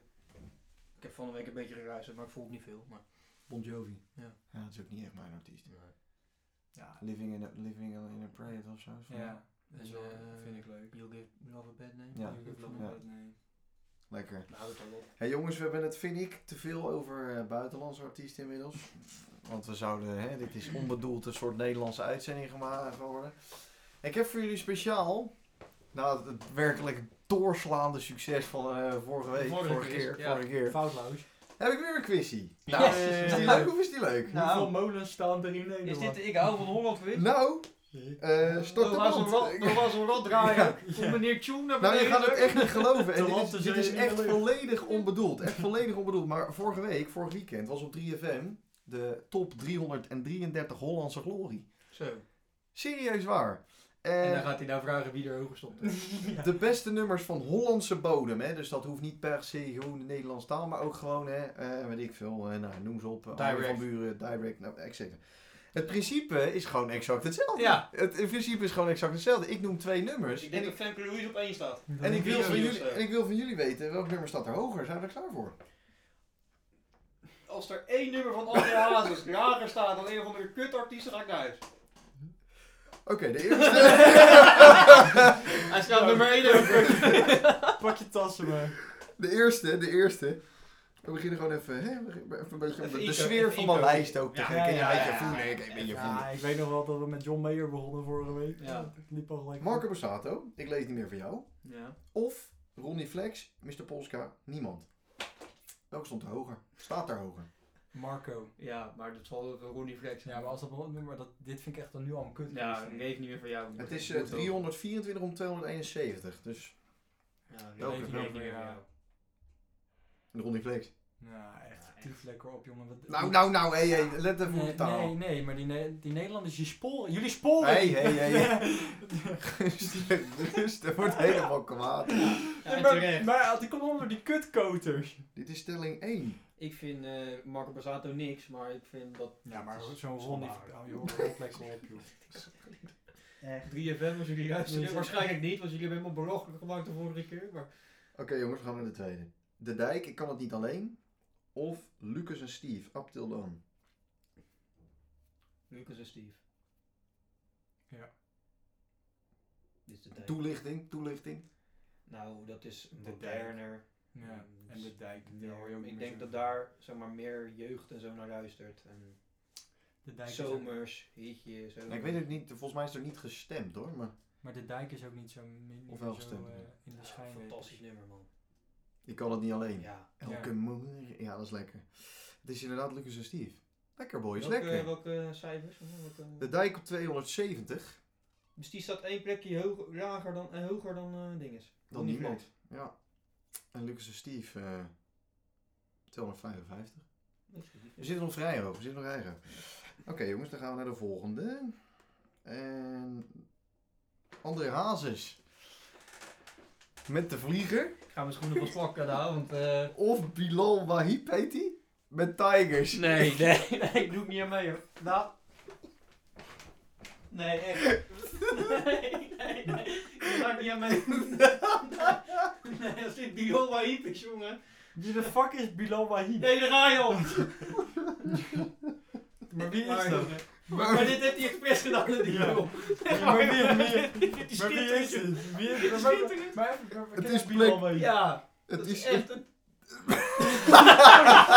Speaker 2: Ik heb van de week een beetje geluisterd, maar ik voel het niet veel. Maar,
Speaker 3: Bon Jovi.
Speaker 2: Ja.
Speaker 3: dat is ook niet echt mijn artiest.
Speaker 1: Ja,
Speaker 3: Living in a, living in a Prayer of zo. is van-
Speaker 1: ja. dat is
Speaker 2: En,
Speaker 1: wel-
Speaker 2: eh,
Speaker 1: vind ik leuk.
Speaker 2: You'll give love a bad name.
Speaker 3: Ja.
Speaker 1: Ik heb lang
Speaker 3: Ja.
Speaker 1: nooit, nee.
Speaker 3: Lekker.
Speaker 2: Nou, het al op.
Speaker 3: Hey jongens, we hebben het, vind ik, te veel over eh, buitenlandse artiesten inmiddels. Want we zouden, hè, dit is onbedoeld een soort Nederlandse uitzending gemaakt worden. Ik heb voor jullie speciaal, na het werkelijk doorslaande succes van eh, vorige week,
Speaker 2: Vorige
Speaker 3: vorige,
Speaker 2: quiz,
Speaker 3: keer,
Speaker 2: ja.
Speaker 3: vorige keer,
Speaker 1: Foutloos.
Speaker 3: heb ik weer een quizje.
Speaker 2: Ja.
Speaker 3: Nou,
Speaker 1: [LAUGHS]
Speaker 2: Yes.
Speaker 3: is die leuk of is die leuk?
Speaker 2: Nou.
Speaker 1: Hoeveel molens staan er in
Speaker 2: Is
Speaker 1: Nederland?
Speaker 2: dit de Ik hou van Holland quiz?
Speaker 3: Nou, eh start de
Speaker 2: was een rot,
Speaker 3: band.
Speaker 2: dat was een rot [LAUGHS] draaien.
Speaker 1: Ja.
Speaker 2: Voor meneer Tjoen [LAUGHS] naar
Speaker 3: Nou, je
Speaker 2: beneden.
Speaker 3: gaat het echt niet
Speaker 2: [LAUGHS]
Speaker 3: geloven. En
Speaker 1: Te
Speaker 3: dit
Speaker 1: land te
Speaker 3: is, dit
Speaker 1: zee
Speaker 3: is
Speaker 1: in
Speaker 3: echt
Speaker 1: de lucht.
Speaker 3: volledig onbedoeld. Echt volledig onbedoeld. Maar vorige week, vorig weekend, was op 3FM de top 333 Hollandse glorie.
Speaker 2: Zo.
Speaker 3: Serieus waar. En,
Speaker 2: En dan gaat hij nou vragen wie er hoger stond.
Speaker 3: de beste nummers van Hollandse bodem. Hè? Dus dat hoeft niet per se gewoon de Nederlandse taal, maar ook gewoon, hè, eh, weet ik veel, eh, nou, noem ze op. eh, Arjen
Speaker 2: Direct.
Speaker 3: van Buren, direct, nou, et cetera. Het principe is gewoon exact hetzelfde.
Speaker 2: Ja.
Speaker 3: Het, het principe is gewoon exact hetzelfde. Ik noem twee nummers.
Speaker 2: Dus ik
Speaker 3: en
Speaker 2: denk dat Femke Louise op één staat.
Speaker 3: En ik, wil
Speaker 2: Video
Speaker 3: van
Speaker 2: dus,
Speaker 3: jullie,
Speaker 2: eh.
Speaker 3: en ik wil van jullie weten, welk nummer staat er hoger? Zijn we er klaar voor?
Speaker 2: Als er één nummer van André Hazes lager staat dan een van de kutartiesten, ga ik naar huis.
Speaker 3: Oké, de eerste...
Speaker 2: [LAUGHS] Hij staat nummer 1 over. [LAUGHS]
Speaker 1: Pak je tassen maar.
Speaker 3: [LAUGHS] de eerste, de eerste. We beginnen gewoon even, hè, we beginnen even een beetje om
Speaker 2: Even
Speaker 3: de, de
Speaker 2: intro,
Speaker 3: sfeer
Speaker 2: even
Speaker 3: van mijn
Speaker 2: intro.
Speaker 3: lijst ook te
Speaker 2: Ja,
Speaker 3: geven. Ik
Speaker 1: ja,
Speaker 3: kan je een beetje
Speaker 2: ja,
Speaker 3: voelen,
Speaker 2: ja.
Speaker 3: ik kan je een beetje voelen.
Speaker 1: Ja, ik weet nog wel dat we met John Mayer begonnen vorige week.
Speaker 2: Ja.
Speaker 1: Het liep al gelijk.
Speaker 3: Marco Borsato, ik lees niet meer van jou.
Speaker 2: Ja.
Speaker 3: Of Ronnie Flex, Mr. Polska, niemand. Welke stond er hoger? Staat er hoger?
Speaker 1: Marco.
Speaker 2: ja, maar dat zal ook wel Ronnie Flex
Speaker 1: Ja, maar als dat wel een nummer, dat, dit vind ik echt dan nu al een kut.
Speaker 2: Ja, ik weet niet meer van jou.
Speaker 3: Het is eh, 324 om 271, dus
Speaker 2: Ja,
Speaker 3: Welke?
Speaker 2: ik weet niet meer van jou.
Speaker 3: Ronnie Flex.
Speaker 1: Nou, echt
Speaker 2: Ja, echt.
Speaker 1: tief lekker op, jongen. Wat-
Speaker 3: Nou, nou, nou, hé, hé, let even op
Speaker 1: Nee,
Speaker 3: de taal.
Speaker 1: nee, nee, maar die, Ne- die Nederlanders, die sporen, jullie sporen.
Speaker 3: Hey, hey,
Speaker 1: [LAUGHS]
Speaker 3: hey, hey.
Speaker 1: Ja,
Speaker 3: Rustig, rustig, wordt helemaal kwaad.
Speaker 2: Ja, en
Speaker 1: maar,
Speaker 2: terecht.
Speaker 1: maar die komen onder die kutkoters.
Speaker 3: Dit is stelling 1.
Speaker 2: Ik vind eh, Marco Bazzato niks, maar ik vind dat...
Speaker 1: Ja, maar
Speaker 2: dat is
Speaker 1: zo'n Ronnie, [LAUGHS]
Speaker 2: zonbaar.
Speaker 1: oh, joh, rot lekker op, joh.
Speaker 2: 3FM, als jullie
Speaker 1: Dat
Speaker 2: luisteren.
Speaker 1: is-
Speaker 2: Waarschijnlijk niet, want jullie hebben helemaal belachelijk gemaakt de vorige keer. Maar...
Speaker 3: Oké jongens, we gaan naar de tweede. De Dijk, ik kan het niet alleen. Of Lucas en Steve, up till dawn.
Speaker 2: Lucas en Steve. Dit is de tijd.
Speaker 3: Toelichting, toelichting.
Speaker 2: Nou, dat is
Speaker 1: dijk.
Speaker 2: moderner.
Speaker 1: Ja,
Speaker 2: Mm,
Speaker 1: en de dijk.
Speaker 2: meer-
Speaker 1: daar hoor je ook
Speaker 2: ik
Speaker 1: meer
Speaker 2: denk
Speaker 1: zo.
Speaker 2: dat daar zeg maar, meer jeugd en zo naar luistert. En
Speaker 1: De dijk is ook-
Speaker 2: zomers, eh, hitje, zo.
Speaker 3: ik weet het niet, volgens mij is er niet gestemd hoor. Maar
Speaker 1: maar de dijk is ook niet zo min,
Speaker 3: Of wel
Speaker 1: zo,
Speaker 3: gestemd,
Speaker 1: eh,
Speaker 3: ja.
Speaker 1: in de
Speaker 2: Ja,
Speaker 1: schijn.
Speaker 2: fantastisch nummer, man.
Speaker 3: ik kan het niet alleen.
Speaker 2: Ja.
Speaker 3: Elke
Speaker 1: Ja.
Speaker 3: morgen. Ja, dat is lekker. Het is inderdaad Lucas en Steve. Lekker boys,
Speaker 2: welke,
Speaker 3: lekker.
Speaker 2: welke cijfers? Welke-
Speaker 3: De Dijk op 270.
Speaker 2: Dus die staat één plekje hoger, lager dan, en hoger dan eh dinges.
Speaker 3: Dan niemand. Ja. En Lucas en Steve eh 255. We zitten nog vrij hoog, we zitten nog vrij hoog. Oké jongens, dan gaan we naar de volgende. En André Hazes. Met de vlieger.
Speaker 2: Gaan we schoenen van plakken daar, want... eh
Speaker 3: Of Bilal Wahib heet hij. Met Tigers.
Speaker 2: [LAUGHS] Nee, nee, nee, ik doe het niet aan mee, hoor. Nou... Nee, echt. Nee, nee, nee. Ik ga niet aan mee. Nee, als dit Bilal Wahib is, jongen.
Speaker 1: Wie de fuck is Bilal Wahib?
Speaker 2: [LAUGHS] Nee, daar ga je op.
Speaker 1: Maar wie is
Speaker 2: Maar,
Speaker 1: dat?
Speaker 2: jongen, maar dit heeft hij expres gedaan, dat die
Speaker 1: Ja.
Speaker 2: lul. [LAUGHS]
Speaker 1: Maar wie- wie-
Speaker 2: Dit is
Speaker 1: Maar wie is
Speaker 2: schitterend.
Speaker 1: dit? Wie
Speaker 2: Dit is
Speaker 1: is
Speaker 2: schitterend.
Speaker 1: Maar even, maar- maar
Speaker 3: Het
Speaker 1: ken
Speaker 3: is
Speaker 1: ik Bilal
Speaker 3: Black-
Speaker 1: Wahib?
Speaker 2: Ja,
Speaker 3: Het
Speaker 2: dat is
Speaker 3: is,
Speaker 2: echt een
Speaker 3: [LAUGHS]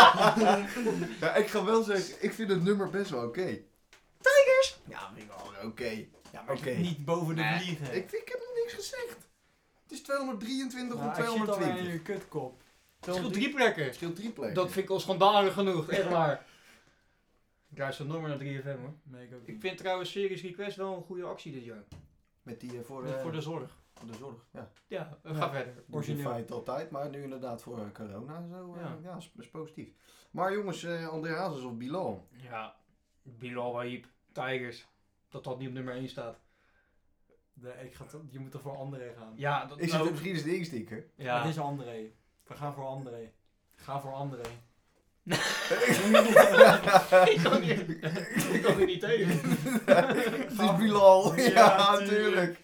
Speaker 3: ja, ik ga wel zeggen, ik vind het nummer best wel oké. Tigers! Ja, vind ik wel oké.
Speaker 1: Ja, maar
Speaker 3: Oké.
Speaker 1: niet boven de
Speaker 2: Nee,
Speaker 1: vliegen.
Speaker 3: Ik, ik heb nog niks gezegd. Het is 223
Speaker 1: Nou,
Speaker 3: om
Speaker 1: ik zit al in
Speaker 3: 220. Het
Speaker 1: je kutkop.
Speaker 2: Het scheelt drie plekken.
Speaker 3: scheelt drie plekken.
Speaker 2: Dat vind ik al schandalig genoeg, echt waar. Ik luister nog maar naar 3FM hoor.
Speaker 1: Nee, ik ook
Speaker 2: Ik
Speaker 1: niet.
Speaker 2: vind trouwens Series Request wel een goede actie dit jaar.
Speaker 3: Met die eh, voor,
Speaker 2: Met
Speaker 3: eh,
Speaker 2: Voor de zorg.
Speaker 3: voor de zorg. Ja,
Speaker 2: Ja, eh,
Speaker 1: Ja.
Speaker 2: ga verder.
Speaker 3: origineel.
Speaker 1: Origineel.
Speaker 3: feit altijd, maar nu inderdaad voor eh, corona en zo. eh,
Speaker 2: Ja.
Speaker 3: Ja, is, is positief. Maar jongens, eh, André Hazes of Bilal.
Speaker 2: Ja, Bilal Wahib, Tigers. Dat dat niet op nummer 1 staat.
Speaker 1: Nee, ik ga toch- je moet er voor André gaan.
Speaker 2: Ja, dat
Speaker 3: Ik zit
Speaker 2: nou-
Speaker 3: op misschien is de
Speaker 2: [LAUGHS]
Speaker 3: instikker.
Speaker 1: Het
Speaker 2: ja.
Speaker 1: is André. We gaan voor André. Ga voor
Speaker 2: [LAUGHS]
Speaker 1: André.
Speaker 2: ik kan [LAUGHS] hier, ik kan hier niet tegen.
Speaker 3: [LAUGHS] Het is Bilal. Ja,
Speaker 2: Ja,
Speaker 3: natuurlijk.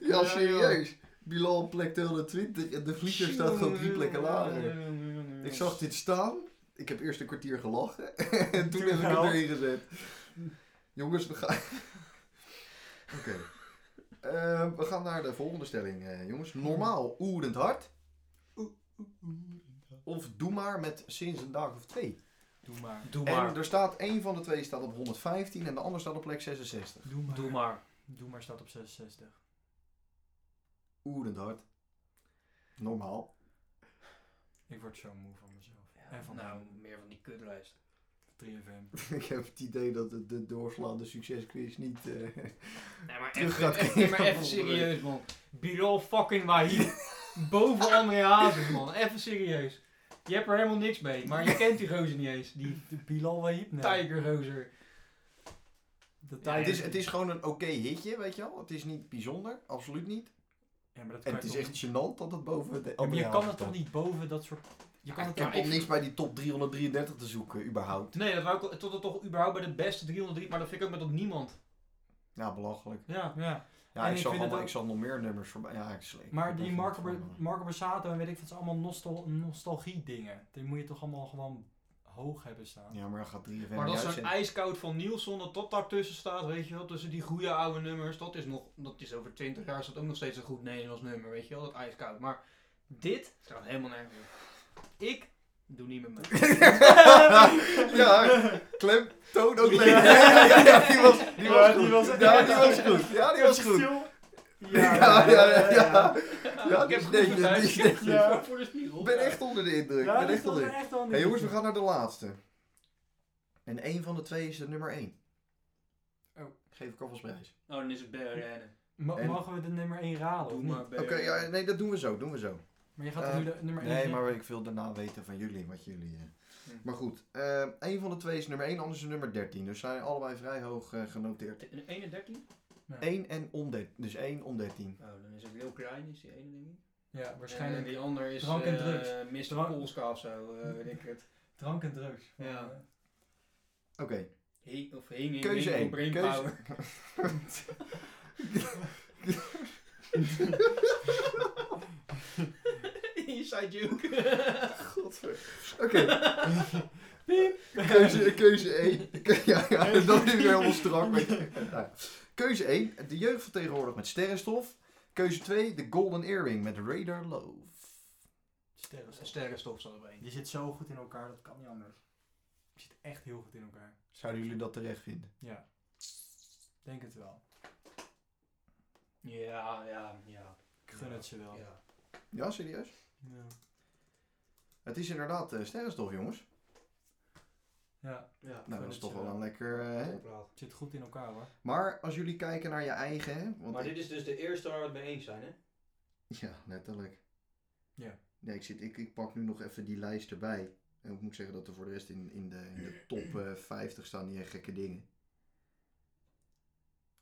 Speaker 3: Ja,
Speaker 2: Ja,
Speaker 3: serieus. Bilal op plek 220 en de vlieger staat gewoon drie plekken lager.
Speaker 2: Dus-
Speaker 3: Ik zag dit staan. Ik heb eerst een kwartier gelachen. [LAUGHS] En toen heb ik het
Speaker 1: Wel.
Speaker 3: erin gezet. Jongens, we gaan... [LAUGHS] Oké. Eh, we gaan naar de volgende stelling, eh, jongens. Normaal, oerend hard. Of doe maar met sinds een dag of twee.
Speaker 1: Doe maar.
Speaker 2: Doe
Speaker 3: En
Speaker 2: maar.
Speaker 3: er staat, één van de twee staat op 115 en de ander staat op plek 66.
Speaker 1: Doe maar.
Speaker 2: Doe maar.
Speaker 1: Doe maar staat op 66.
Speaker 3: Oerend hard. Normaal. [LAUGHS]
Speaker 1: Ik word zo moe van mezelf. en
Speaker 2: Ja,
Speaker 1: van
Speaker 2: nou,
Speaker 1: nou,
Speaker 2: meer van die kutlijst. [LAUGHS]
Speaker 1: 3FM.
Speaker 3: Ik heb het idee dat het de doorslaande succesquiz niet... eh,
Speaker 2: Nee, maar
Speaker 3: Terug
Speaker 2: even,
Speaker 3: gaat [LAUGHS]
Speaker 2: even, maar
Speaker 3: keren.
Speaker 2: even serieus, man. Bilal fucking Wahib.
Speaker 3: [LAUGHS]
Speaker 2: Boven André Hazes, man. Even serieus. Je hebt er helemaal niks mee, maar
Speaker 3: [LAUGHS]
Speaker 2: je kent die gozer niet eens. Die
Speaker 1: De Bilal Wahib? Nee.
Speaker 2: tijgergozer.
Speaker 1: De
Speaker 2: Ja,
Speaker 3: het,
Speaker 1: Tiger.
Speaker 3: is, het is gewoon een oké hitje, weet je wel. Het is niet bijzonder, absoluut niet.
Speaker 1: Ja, maar dat kan
Speaker 3: En het
Speaker 1: je
Speaker 3: is
Speaker 1: toch
Speaker 3: echt gênant dat het boven de
Speaker 1: Ja, maar
Speaker 3: andere
Speaker 1: je kan
Speaker 3: helft
Speaker 1: het toch
Speaker 3: staat.
Speaker 1: niet boven dat soort... Je kan het
Speaker 3: Ik
Speaker 1: toch
Speaker 3: heb op niks bij die top 333 te zoeken, überhaupt.
Speaker 2: Nee, dat wou ik al- tot het toch überhaupt bij de beste 303, maar dat vind ik ook met dat niemand.
Speaker 3: Ja, belachelijk.
Speaker 2: Ja.
Speaker 1: Ja,
Speaker 3: Ja,
Speaker 1: En ik
Speaker 3: ik, zag
Speaker 1: vind het
Speaker 3: allemaal,
Speaker 1: ook-
Speaker 3: ik zag nog meer nummers voorbij. Ja, ik sleep.
Speaker 1: maar
Speaker 3: Ik ben
Speaker 1: die
Speaker 3: van
Speaker 1: Marco,
Speaker 3: het
Speaker 1: Ber-
Speaker 3: van-
Speaker 1: Marco Borsato en weet ik wat, het is allemaal nostal nostalgie dingen. Die moet je toch allemaal gewoon hoog hebben
Speaker 3: [LAUGHS]
Speaker 1: staan.
Speaker 3: eh, Ja, maar dan gaat 3
Speaker 2: Maar dat is zo'n
Speaker 3: uitzenden.
Speaker 2: ijskoud van Nielsen dat dat daartussen staat, weet je wel, tussen die goede oude nummers, dat is nog, dat is over 20 jaar is dat ook nog steeds een goed Nederlands nummer, weet je wel, dat ijskoud. Maar dit staat helemaal nergens op. Ik doe niet met me.
Speaker 3: ja, klem, toon ook leuk. Ja, die was, [LAUGHS] die
Speaker 1: Ja,
Speaker 3: was
Speaker 1: die
Speaker 3: goed.
Speaker 1: was-
Speaker 3: ja, die was goed. Ja, die was goed.
Speaker 1: Ja,
Speaker 3: Ja, ja, ja. [LAUGHS] ja.
Speaker 2: ik heb
Speaker 3: die is
Speaker 2: goed
Speaker 3: netjes, die is
Speaker 2: gedaan.
Speaker 3: netjes.
Speaker 2: Ik
Speaker 1: Ja.
Speaker 2: voor de spiegel.
Speaker 3: Ik ben echt onder de indruk. Ik ben echt onder de indruk.
Speaker 1: wel
Speaker 3: Hé jongens, we gaan naar de laatste. En één van de twee is de nummer één.
Speaker 1: Oh.
Speaker 3: Geef ik alvast prijs.
Speaker 2: Oh, dan is het BRN.
Speaker 1: Ma-
Speaker 3: En-
Speaker 1: Mogen we de nummer 1 raden?
Speaker 2: Doe
Speaker 1: of niet?
Speaker 2: maar
Speaker 1: Maar.
Speaker 3: Oké,
Speaker 2: BRN.
Speaker 3: ja, nee, dat doen we zo, doen we zo.
Speaker 1: je gaat
Speaker 3: Eh,
Speaker 1: toch nu de nummer 1
Speaker 3: Nee, maar ik wil daarna weten van jullie, wat jullie... eh.
Speaker 2: Hm.
Speaker 3: Maar goed, eh, één van de twee is nummer één, anders is nummer 13. Dus zijn allebei vrij hoog eh, genoteerd.
Speaker 2: Een 31?
Speaker 3: 1 en om 13, dus 1 om 13.
Speaker 2: Oh, dan is het heel klein, is die ene ding niet.
Speaker 1: Ja,
Speaker 2: En
Speaker 1: waarschijnlijk.
Speaker 2: die ander is
Speaker 1: Drank en
Speaker 2: eh,
Speaker 1: drugs.
Speaker 2: Mr.
Speaker 1: Drank-
Speaker 2: Polska of zo, eh, weet ik het.
Speaker 1: Drank en drugs. Eh,
Speaker 2: Ja.
Speaker 3: Oké.
Speaker 1: [LAUGHS]
Speaker 2: He- of hing
Speaker 3: Keuze één. Keuze-
Speaker 2: Brainpower. [LAUGHS] Inside joke.
Speaker 3: Oké. Keuze, keuze 1. Ja, ja, dat is weer helemaal
Speaker 1: [LAUGHS]
Speaker 3: strak. maar- Nou, Keuze 1. De jeugd van tegenwoordig met sterrenstof. Keuze 2. De Golden Earring met Raider Love.
Speaker 1: Sterrenstof.
Speaker 2: Sterrenstof staat op één.
Speaker 1: Die zit zo goed in elkaar, dat kan niet anders. Die zit echt heel goed in elkaar.
Speaker 3: Zouden jullie dat terecht vinden?
Speaker 1: Ja. Denk het wel.
Speaker 2: Ja, ja, ja.
Speaker 1: Ik gun het ze wel.
Speaker 2: ja.
Speaker 3: Ja, serieus?
Speaker 1: Ja.
Speaker 3: Het is inderdaad eh, sterrenstof, jongens.
Speaker 1: ja.
Speaker 2: ja.
Speaker 3: Nou, dat is
Speaker 1: het
Speaker 3: toch
Speaker 1: zo.
Speaker 3: wel een lekker... eh, hè?
Speaker 2: Topplaat.
Speaker 1: Het zit goed in elkaar hoor.
Speaker 3: Maar als jullie kijken naar je eigen... Hè, want
Speaker 2: Maar
Speaker 3: ik-
Speaker 2: dit is dus de eerste waar we het mee eens zijn, hè?
Speaker 3: [LAUGHS] Ja, letterlijk.
Speaker 1: Ja.
Speaker 3: Nee, ik, zit, ik, ik pak nu nog even die lijst erbij. En ik moet zeggen dat er voor de rest in, in, de, in de
Speaker 1: [CLEARS THROAT]
Speaker 3: top eh, 50 staan niet echt gekke dingen.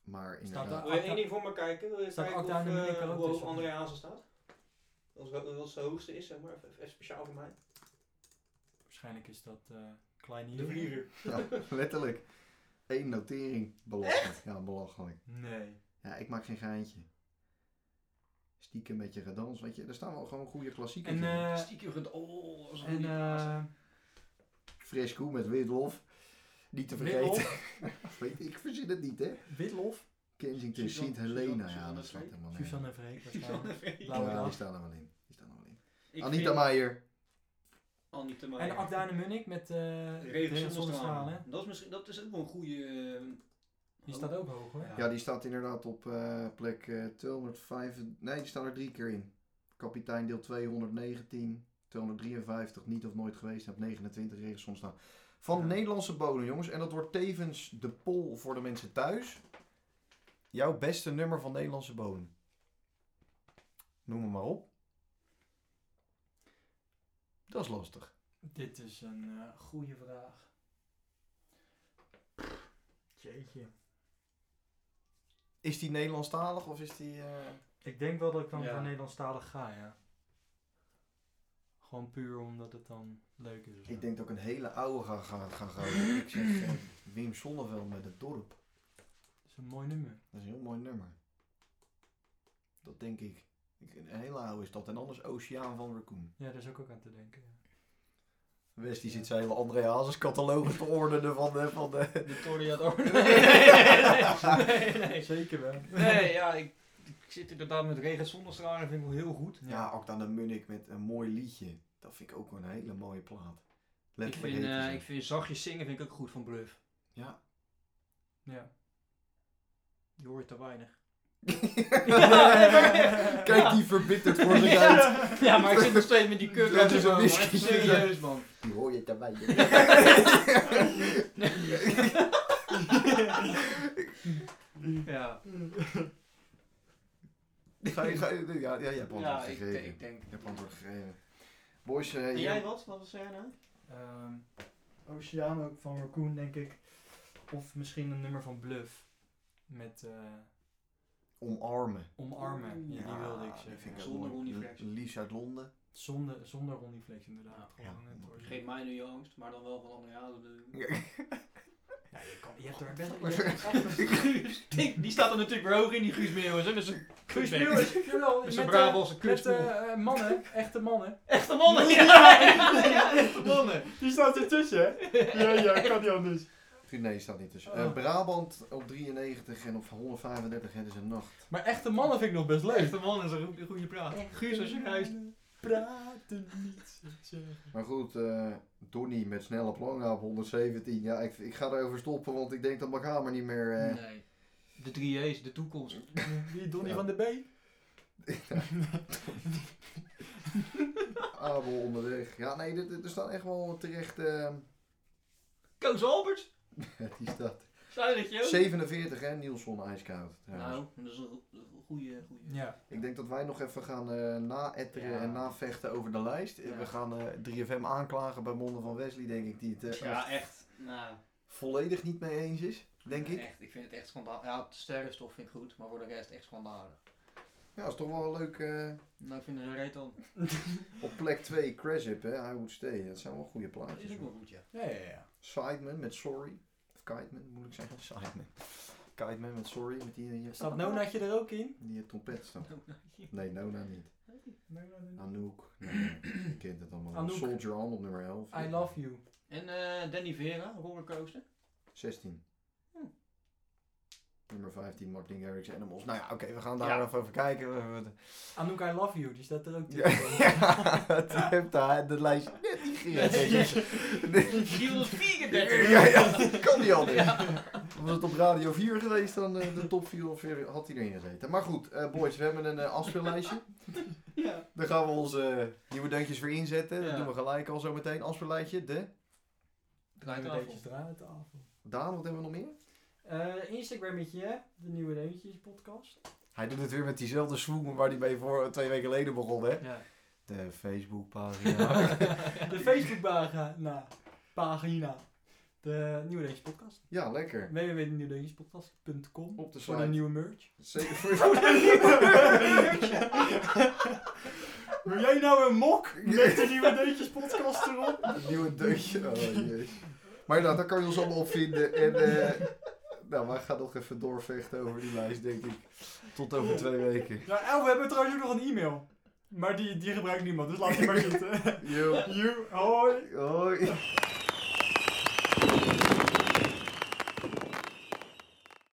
Speaker 3: Maar inderdaad...
Speaker 1: daar-
Speaker 2: Wil je één ding voor me kijken? Wil je
Speaker 1: Staat
Speaker 2: kijken of,
Speaker 1: Akta en de Munnik
Speaker 2: eh,
Speaker 1: er ook
Speaker 2: hoe hoog
Speaker 1: tussen?
Speaker 2: André Hazen staat? Als wel- Wat zijn hoogste is, zeg maar. Even, even speciaal voor mij.
Speaker 1: Waarschijnlijk is dat eh Kleine
Speaker 2: De
Speaker 1: Eagle.
Speaker 2: vlieger.
Speaker 3: Ja, [LAUGHS] letterlijk. Eén notering. Belachelijk. Ja, belachelijk.
Speaker 1: Nee.
Speaker 3: Ja, ik maak geen geintje. Stiekem met je gedans, weet je. Er staan wel gewoon goede klassiekers
Speaker 1: En,
Speaker 3: in.
Speaker 1: eh
Speaker 2: Stiekem het... Oh, als
Speaker 1: en
Speaker 2: [LAUGHS]
Speaker 1: eh
Speaker 3: Fresco met Witlof. Niet te vergeten.
Speaker 1: Witlof.
Speaker 3: Weet je, ik verzin het niet, hè.
Speaker 1: Witlof.
Speaker 3: Kensington,
Speaker 2: Suzanne-
Speaker 3: Sint Helena.
Speaker 2: Suzanne-
Speaker 3: Ja,
Speaker 2: Suzanne
Speaker 3: dat staat helemaal nergens.
Speaker 1: Suzanne
Speaker 2: [LAUGHS]
Speaker 1: en Freek waarschijnlijk.
Speaker 2: Suzanne Freek.
Speaker 1: Laten we
Speaker 3: Ja,
Speaker 1: dan.
Speaker 3: die staan er wel in. Die staan er wel in. Anita Meijer.
Speaker 2: Al niet te maken.
Speaker 1: En Akda en Munnik met eh Regen zonnestralen. hè?
Speaker 2: Dat is, misschien, dat is ook wel een goede... eh,
Speaker 1: Die staat ook hoog hoor.
Speaker 2: Ja.
Speaker 3: Ja, die staat inderdaad op eh, plek eh 205. Nee, die staat er drie keer in. Kapitein deel 219, 253, niet of nooit geweest. En op 29 regensons staan. Van
Speaker 1: Ja.
Speaker 3: Nederlandse bodem, jongens. En dat wordt tevens de poll voor de mensen thuis. Jouw beste nummer van Nederlandse bodem. Noem hem maar op. Dat is lastig.
Speaker 1: Dit is een eh, goede vraag. Jeetje.
Speaker 3: Is die Nederlandstalig of is die... eh,
Speaker 1: Ik denk wel dat ik dan
Speaker 2: Ja.
Speaker 1: voor Nederlandstalig ga, ja. Gewoon puur omdat het dan leuk is. of zo.
Speaker 3: Ik denk dat ik een hele oude ga gaan ga, ga, gaan. Ik zeg eh, Wim Sonneveld met het dorp.
Speaker 1: Het is een mooi nummer.
Speaker 3: Dat is een heel mooi nummer. Dat denk ik. ik een hele oude is dat. En anders Oceaan van Raccoon.
Speaker 1: Ja, daar is ook ook aan te denken. ja.
Speaker 3: Wes die zit zijn hele André Hazes catalogus te ordenen van de... Van de...
Speaker 2: De Toriad [LAUGHS] Order. nee, nee.
Speaker 1: Zeker wel.
Speaker 2: Nee, ja, ik, ik zit inderdaad met regen zonnestralen. Dat vind ik wel heel goed.
Speaker 3: Ja, ook dan de Munnik met een mooi liedje. Dat vind ik ook wel een hele mooie plaat.
Speaker 2: Ik
Speaker 3: Letterlijk
Speaker 2: vind,
Speaker 3: heet
Speaker 2: eh,
Speaker 3: ze.
Speaker 2: ik vind zachtjes zingen vind ik ook goed van [LAUGHS] Bluff.
Speaker 3: Ja.
Speaker 1: Ja.
Speaker 2: Je hoort te weinig. [LAUGHS]
Speaker 3: Kijk die verbitterd voor zich uit.
Speaker 2: ja. ja, maar ik zit nog steeds met die kut.
Speaker 3: Dat is een
Speaker 2: man.
Speaker 3: whisky.
Speaker 2: Serieus,
Speaker 3: [LAUGHS]
Speaker 2: man.
Speaker 3: Die hoor je daarbij.
Speaker 2: [LAUGHS] Ja,
Speaker 3: Ga je, ga je, ja, ja, je hebt antwoord
Speaker 2: ja ik,
Speaker 3: gegeven.
Speaker 2: ik denk.
Speaker 3: Je hebt antwoord gegeven. Boys, eh,
Speaker 2: En
Speaker 3: je-
Speaker 2: jij wat? Wat was jij nou?
Speaker 1: Ehm Oceaan ook van Raccoon, denk ik. Of misschien een nummer van Bluff. Met eh,
Speaker 3: omarmen.
Speaker 1: omarmen. Ja, die
Speaker 3: Ja,
Speaker 1: wilde ik
Speaker 3: dat
Speaker 1: zeggen.
Speaker 3: vind ik ook
Speaker 2: Zonder
Speaker 3: mooi.
Speaker 2: Ronnie Flex.
Speaker 3: Liefst uit Londen.
Speaker 1: Zonder, zonder Ronnie Flex inderdaad.
Speaker 3: Ja,
Speaker 1: Gewoon het origineel.
Speaker 2: Geef mij nu je angst, maar dan wel van andere jaren.
Speaker 1: Ja, je, kan, je hebt er best wel... je hebt echt een-
Speaker 2: Guus, [LAUGHS] die, die staat er natuurlijk weer hoog in, die Guus Meeuwis. hè, Met zijn
Speaker 1: Guus Meeuwis, jawel,
Speaker 2: Met
Speaker 1: met,
Speaker 2: zijn
Speaker 1: eh,
Speaker 2: Brabantse
Speaker 1: met
Speaker 2: kutsmoel.
Speaker 1: eh, mannen, echte mannen.
Speaker 2: [LAUGHS] Echte
Speaker 1: [LAUGHS]
Speaker 2: mannen! Ja, ja, ja, ja, echte mannen!
Speaker 1: Die staat ertussen,
Speaker 3: [LAUGHS]
Speaker 1: hè? Ja, ja, kan niet anders.
Speaker 3: Nee, staat niet tussen.
Speaker 1: Oh.
Speaker 3: Eh, Brabant op 93 en op 135 het is een nacht.
Speaker 1: Maar echte mannen vind ik nog best leuk.
Speaker 2: Echte mannen is een goede, goede praat. Guus, als je luistert.
Speaker 1: Praten niet, zeggen.
Speaker 3: Maar goed, eh Donny met snelle planga op 117. Ja, ik, ik ga erover stoppen, want ik denk dat mijn kamer niet meer... eh,
Speaker 2: Nee. De 3J's, de toekomst.
Speaker 1: Die Donny
Speaker 3: Ja.
Speaker 1: van de B.
Speaker 3: [LAUGHS] Abel onderweg. Ja, nee, dit- dit- er staan echt wel terecht... eh, [LAUGHS]
Speaker 2: Koos Albert,
Speaker 3: die staat...
Speaker 2: zei dat je
Speaker 3: 47 hè, Nielson ijskoud. trouwens.
Speaker 2: Nou, dat is een go- goede, goede.
Speaker 1: Ja.
Speaker 3: Ik denk dat wij nog even gaan eh na-etteren
Speaker 2: Ja.
Speaker 3: en navechten over de lijst. Eh,
Speaker 2: Ja.
Speaker 3: We gaan eh, 3FM aanklagen bij monden van Wesley, denk ik, die het eh,
Speaker 2: Ja, echt. Nou,
Speaker 3: volledig niet mee eens is, denk ik.
Speaker 2: Echt, ik vind het echt schandalig. Ja, de sterrenstof vind ik goed, maar voor de rest echt schandalig.
Speaker 3: Ja, is toch wel een leuk... eh,
Speaker 2: Nou, ik vind het een reet dan.
Speaker 3: Op plek 2 Crash Up, hè? I Would Stay. Dat zijn wel goede
Speaker 2: Dat is
Speaker 3: plaatjes.
Speaker 2: ook wel goed, [LAUGHS] ja.
Speaker 1: Ja, ja, ja.
Speaker 3: Sideman met Sorry. Of Kiteman, moet ik
Speaker 2: [LAUGHS]
Speaker 3: zeggen. Sideman. Kiteman met Sorry. Met die, die, eh,
Speaker 1: Staat Nonaatje er ook in?
Speaker 3: Die trompet staan. Nee, Nona niet. Anouk. Nee, je kent het allemaal.
Speaker 1: Anouk.
Speaker 3: Soldier On op nummer 11.
Speaker 1: I love you.
Speaker 2: En eh, Danny Vera, rollercoaster.
Speaker 3: 16.
Speaker 2: Hm.
Speaker 3: Nummer 15, Martin Garrix Animals. Nou ja, oké, we gaan daar
Speaker 2: Ja.
Speaker 3: even over kijken. We- we-
Speaker 1: Anouk, I love you. Die staat er ook
Speaker 3: [LAUGHS] Ja,
Speaker 1: tussen.
Speaker 3: die heeft daar de lijst net niet [LAUGHS]
Speaker 2: [LAUGHS]
Speaker 3: gered.
Speaker 2: Die wil 34.
Speaker 3: Ja, ja, dat kan niet anders. Was het op Radio 4 geweest, dan eh, de top 4 of weer had hij erin gezeten. Maar goed, eh, boys, we hebben een eh, afspeellijstje.
Speaker 2: Ja.
Speaker 3: Daar gaan we onze eh, nieuwe deuntjes weer inzetten. Dat
Speaker 2: Ja.
Speaker 3: doen we gelijk al zo meteen. Afspeellijstje, de...
Speaker 1: Nieuwe
Speaker 2: Draaitafel.
Speaker 1: deuntjes, draaitafel.
Speaker 3: Daan, wat hebben we nog meer?
Speaker 1: Eh, Instagrammetje, hè? De Nieuwe Deuntjes podcast.
Speaker 3: Hij doet het weer met diezelfde swoon waar hij mee voor twee weken geleden begon, hè?
Speaker 2: Ja.
Speaker 3: De
Speaker 1: [LAUGHS]
Speaker 3: Facebookpagina.
Speaker 1: De Facebookpagina. nou, Pagina. De Nieuwe Deuntjes podcast.
Speaker 3: ja, lekker.
Speaker 1: www.nieuwedeuntjespodcast.com
Speaker 3: Op de
Speaker 1: Voor de
Speaker 3: site.
Speaker 1: nieuwe merch.
Speaker 3: Zeker voor...
Speaker 1: Wil jij nou een mok met de Nieuwe Deuntjes podcast erop?
Speaker 3: Een nieuwe deuntje. Oh, jee. Maar inderdaad, daar kan je ons allemaal op vinden. En eh, nou, wij gaan nog even doorvechten over die lijst, denk ik. Tot over twee weken.
Speaker 1: Nou, en we hebben trouwens ook nog een e-mail. Maar die, die gebruikt niemand, dus laat die maar zitten.
Speaker 3: Yo.
Speaker 1: You, hoi.
Speaker 3: Hoi.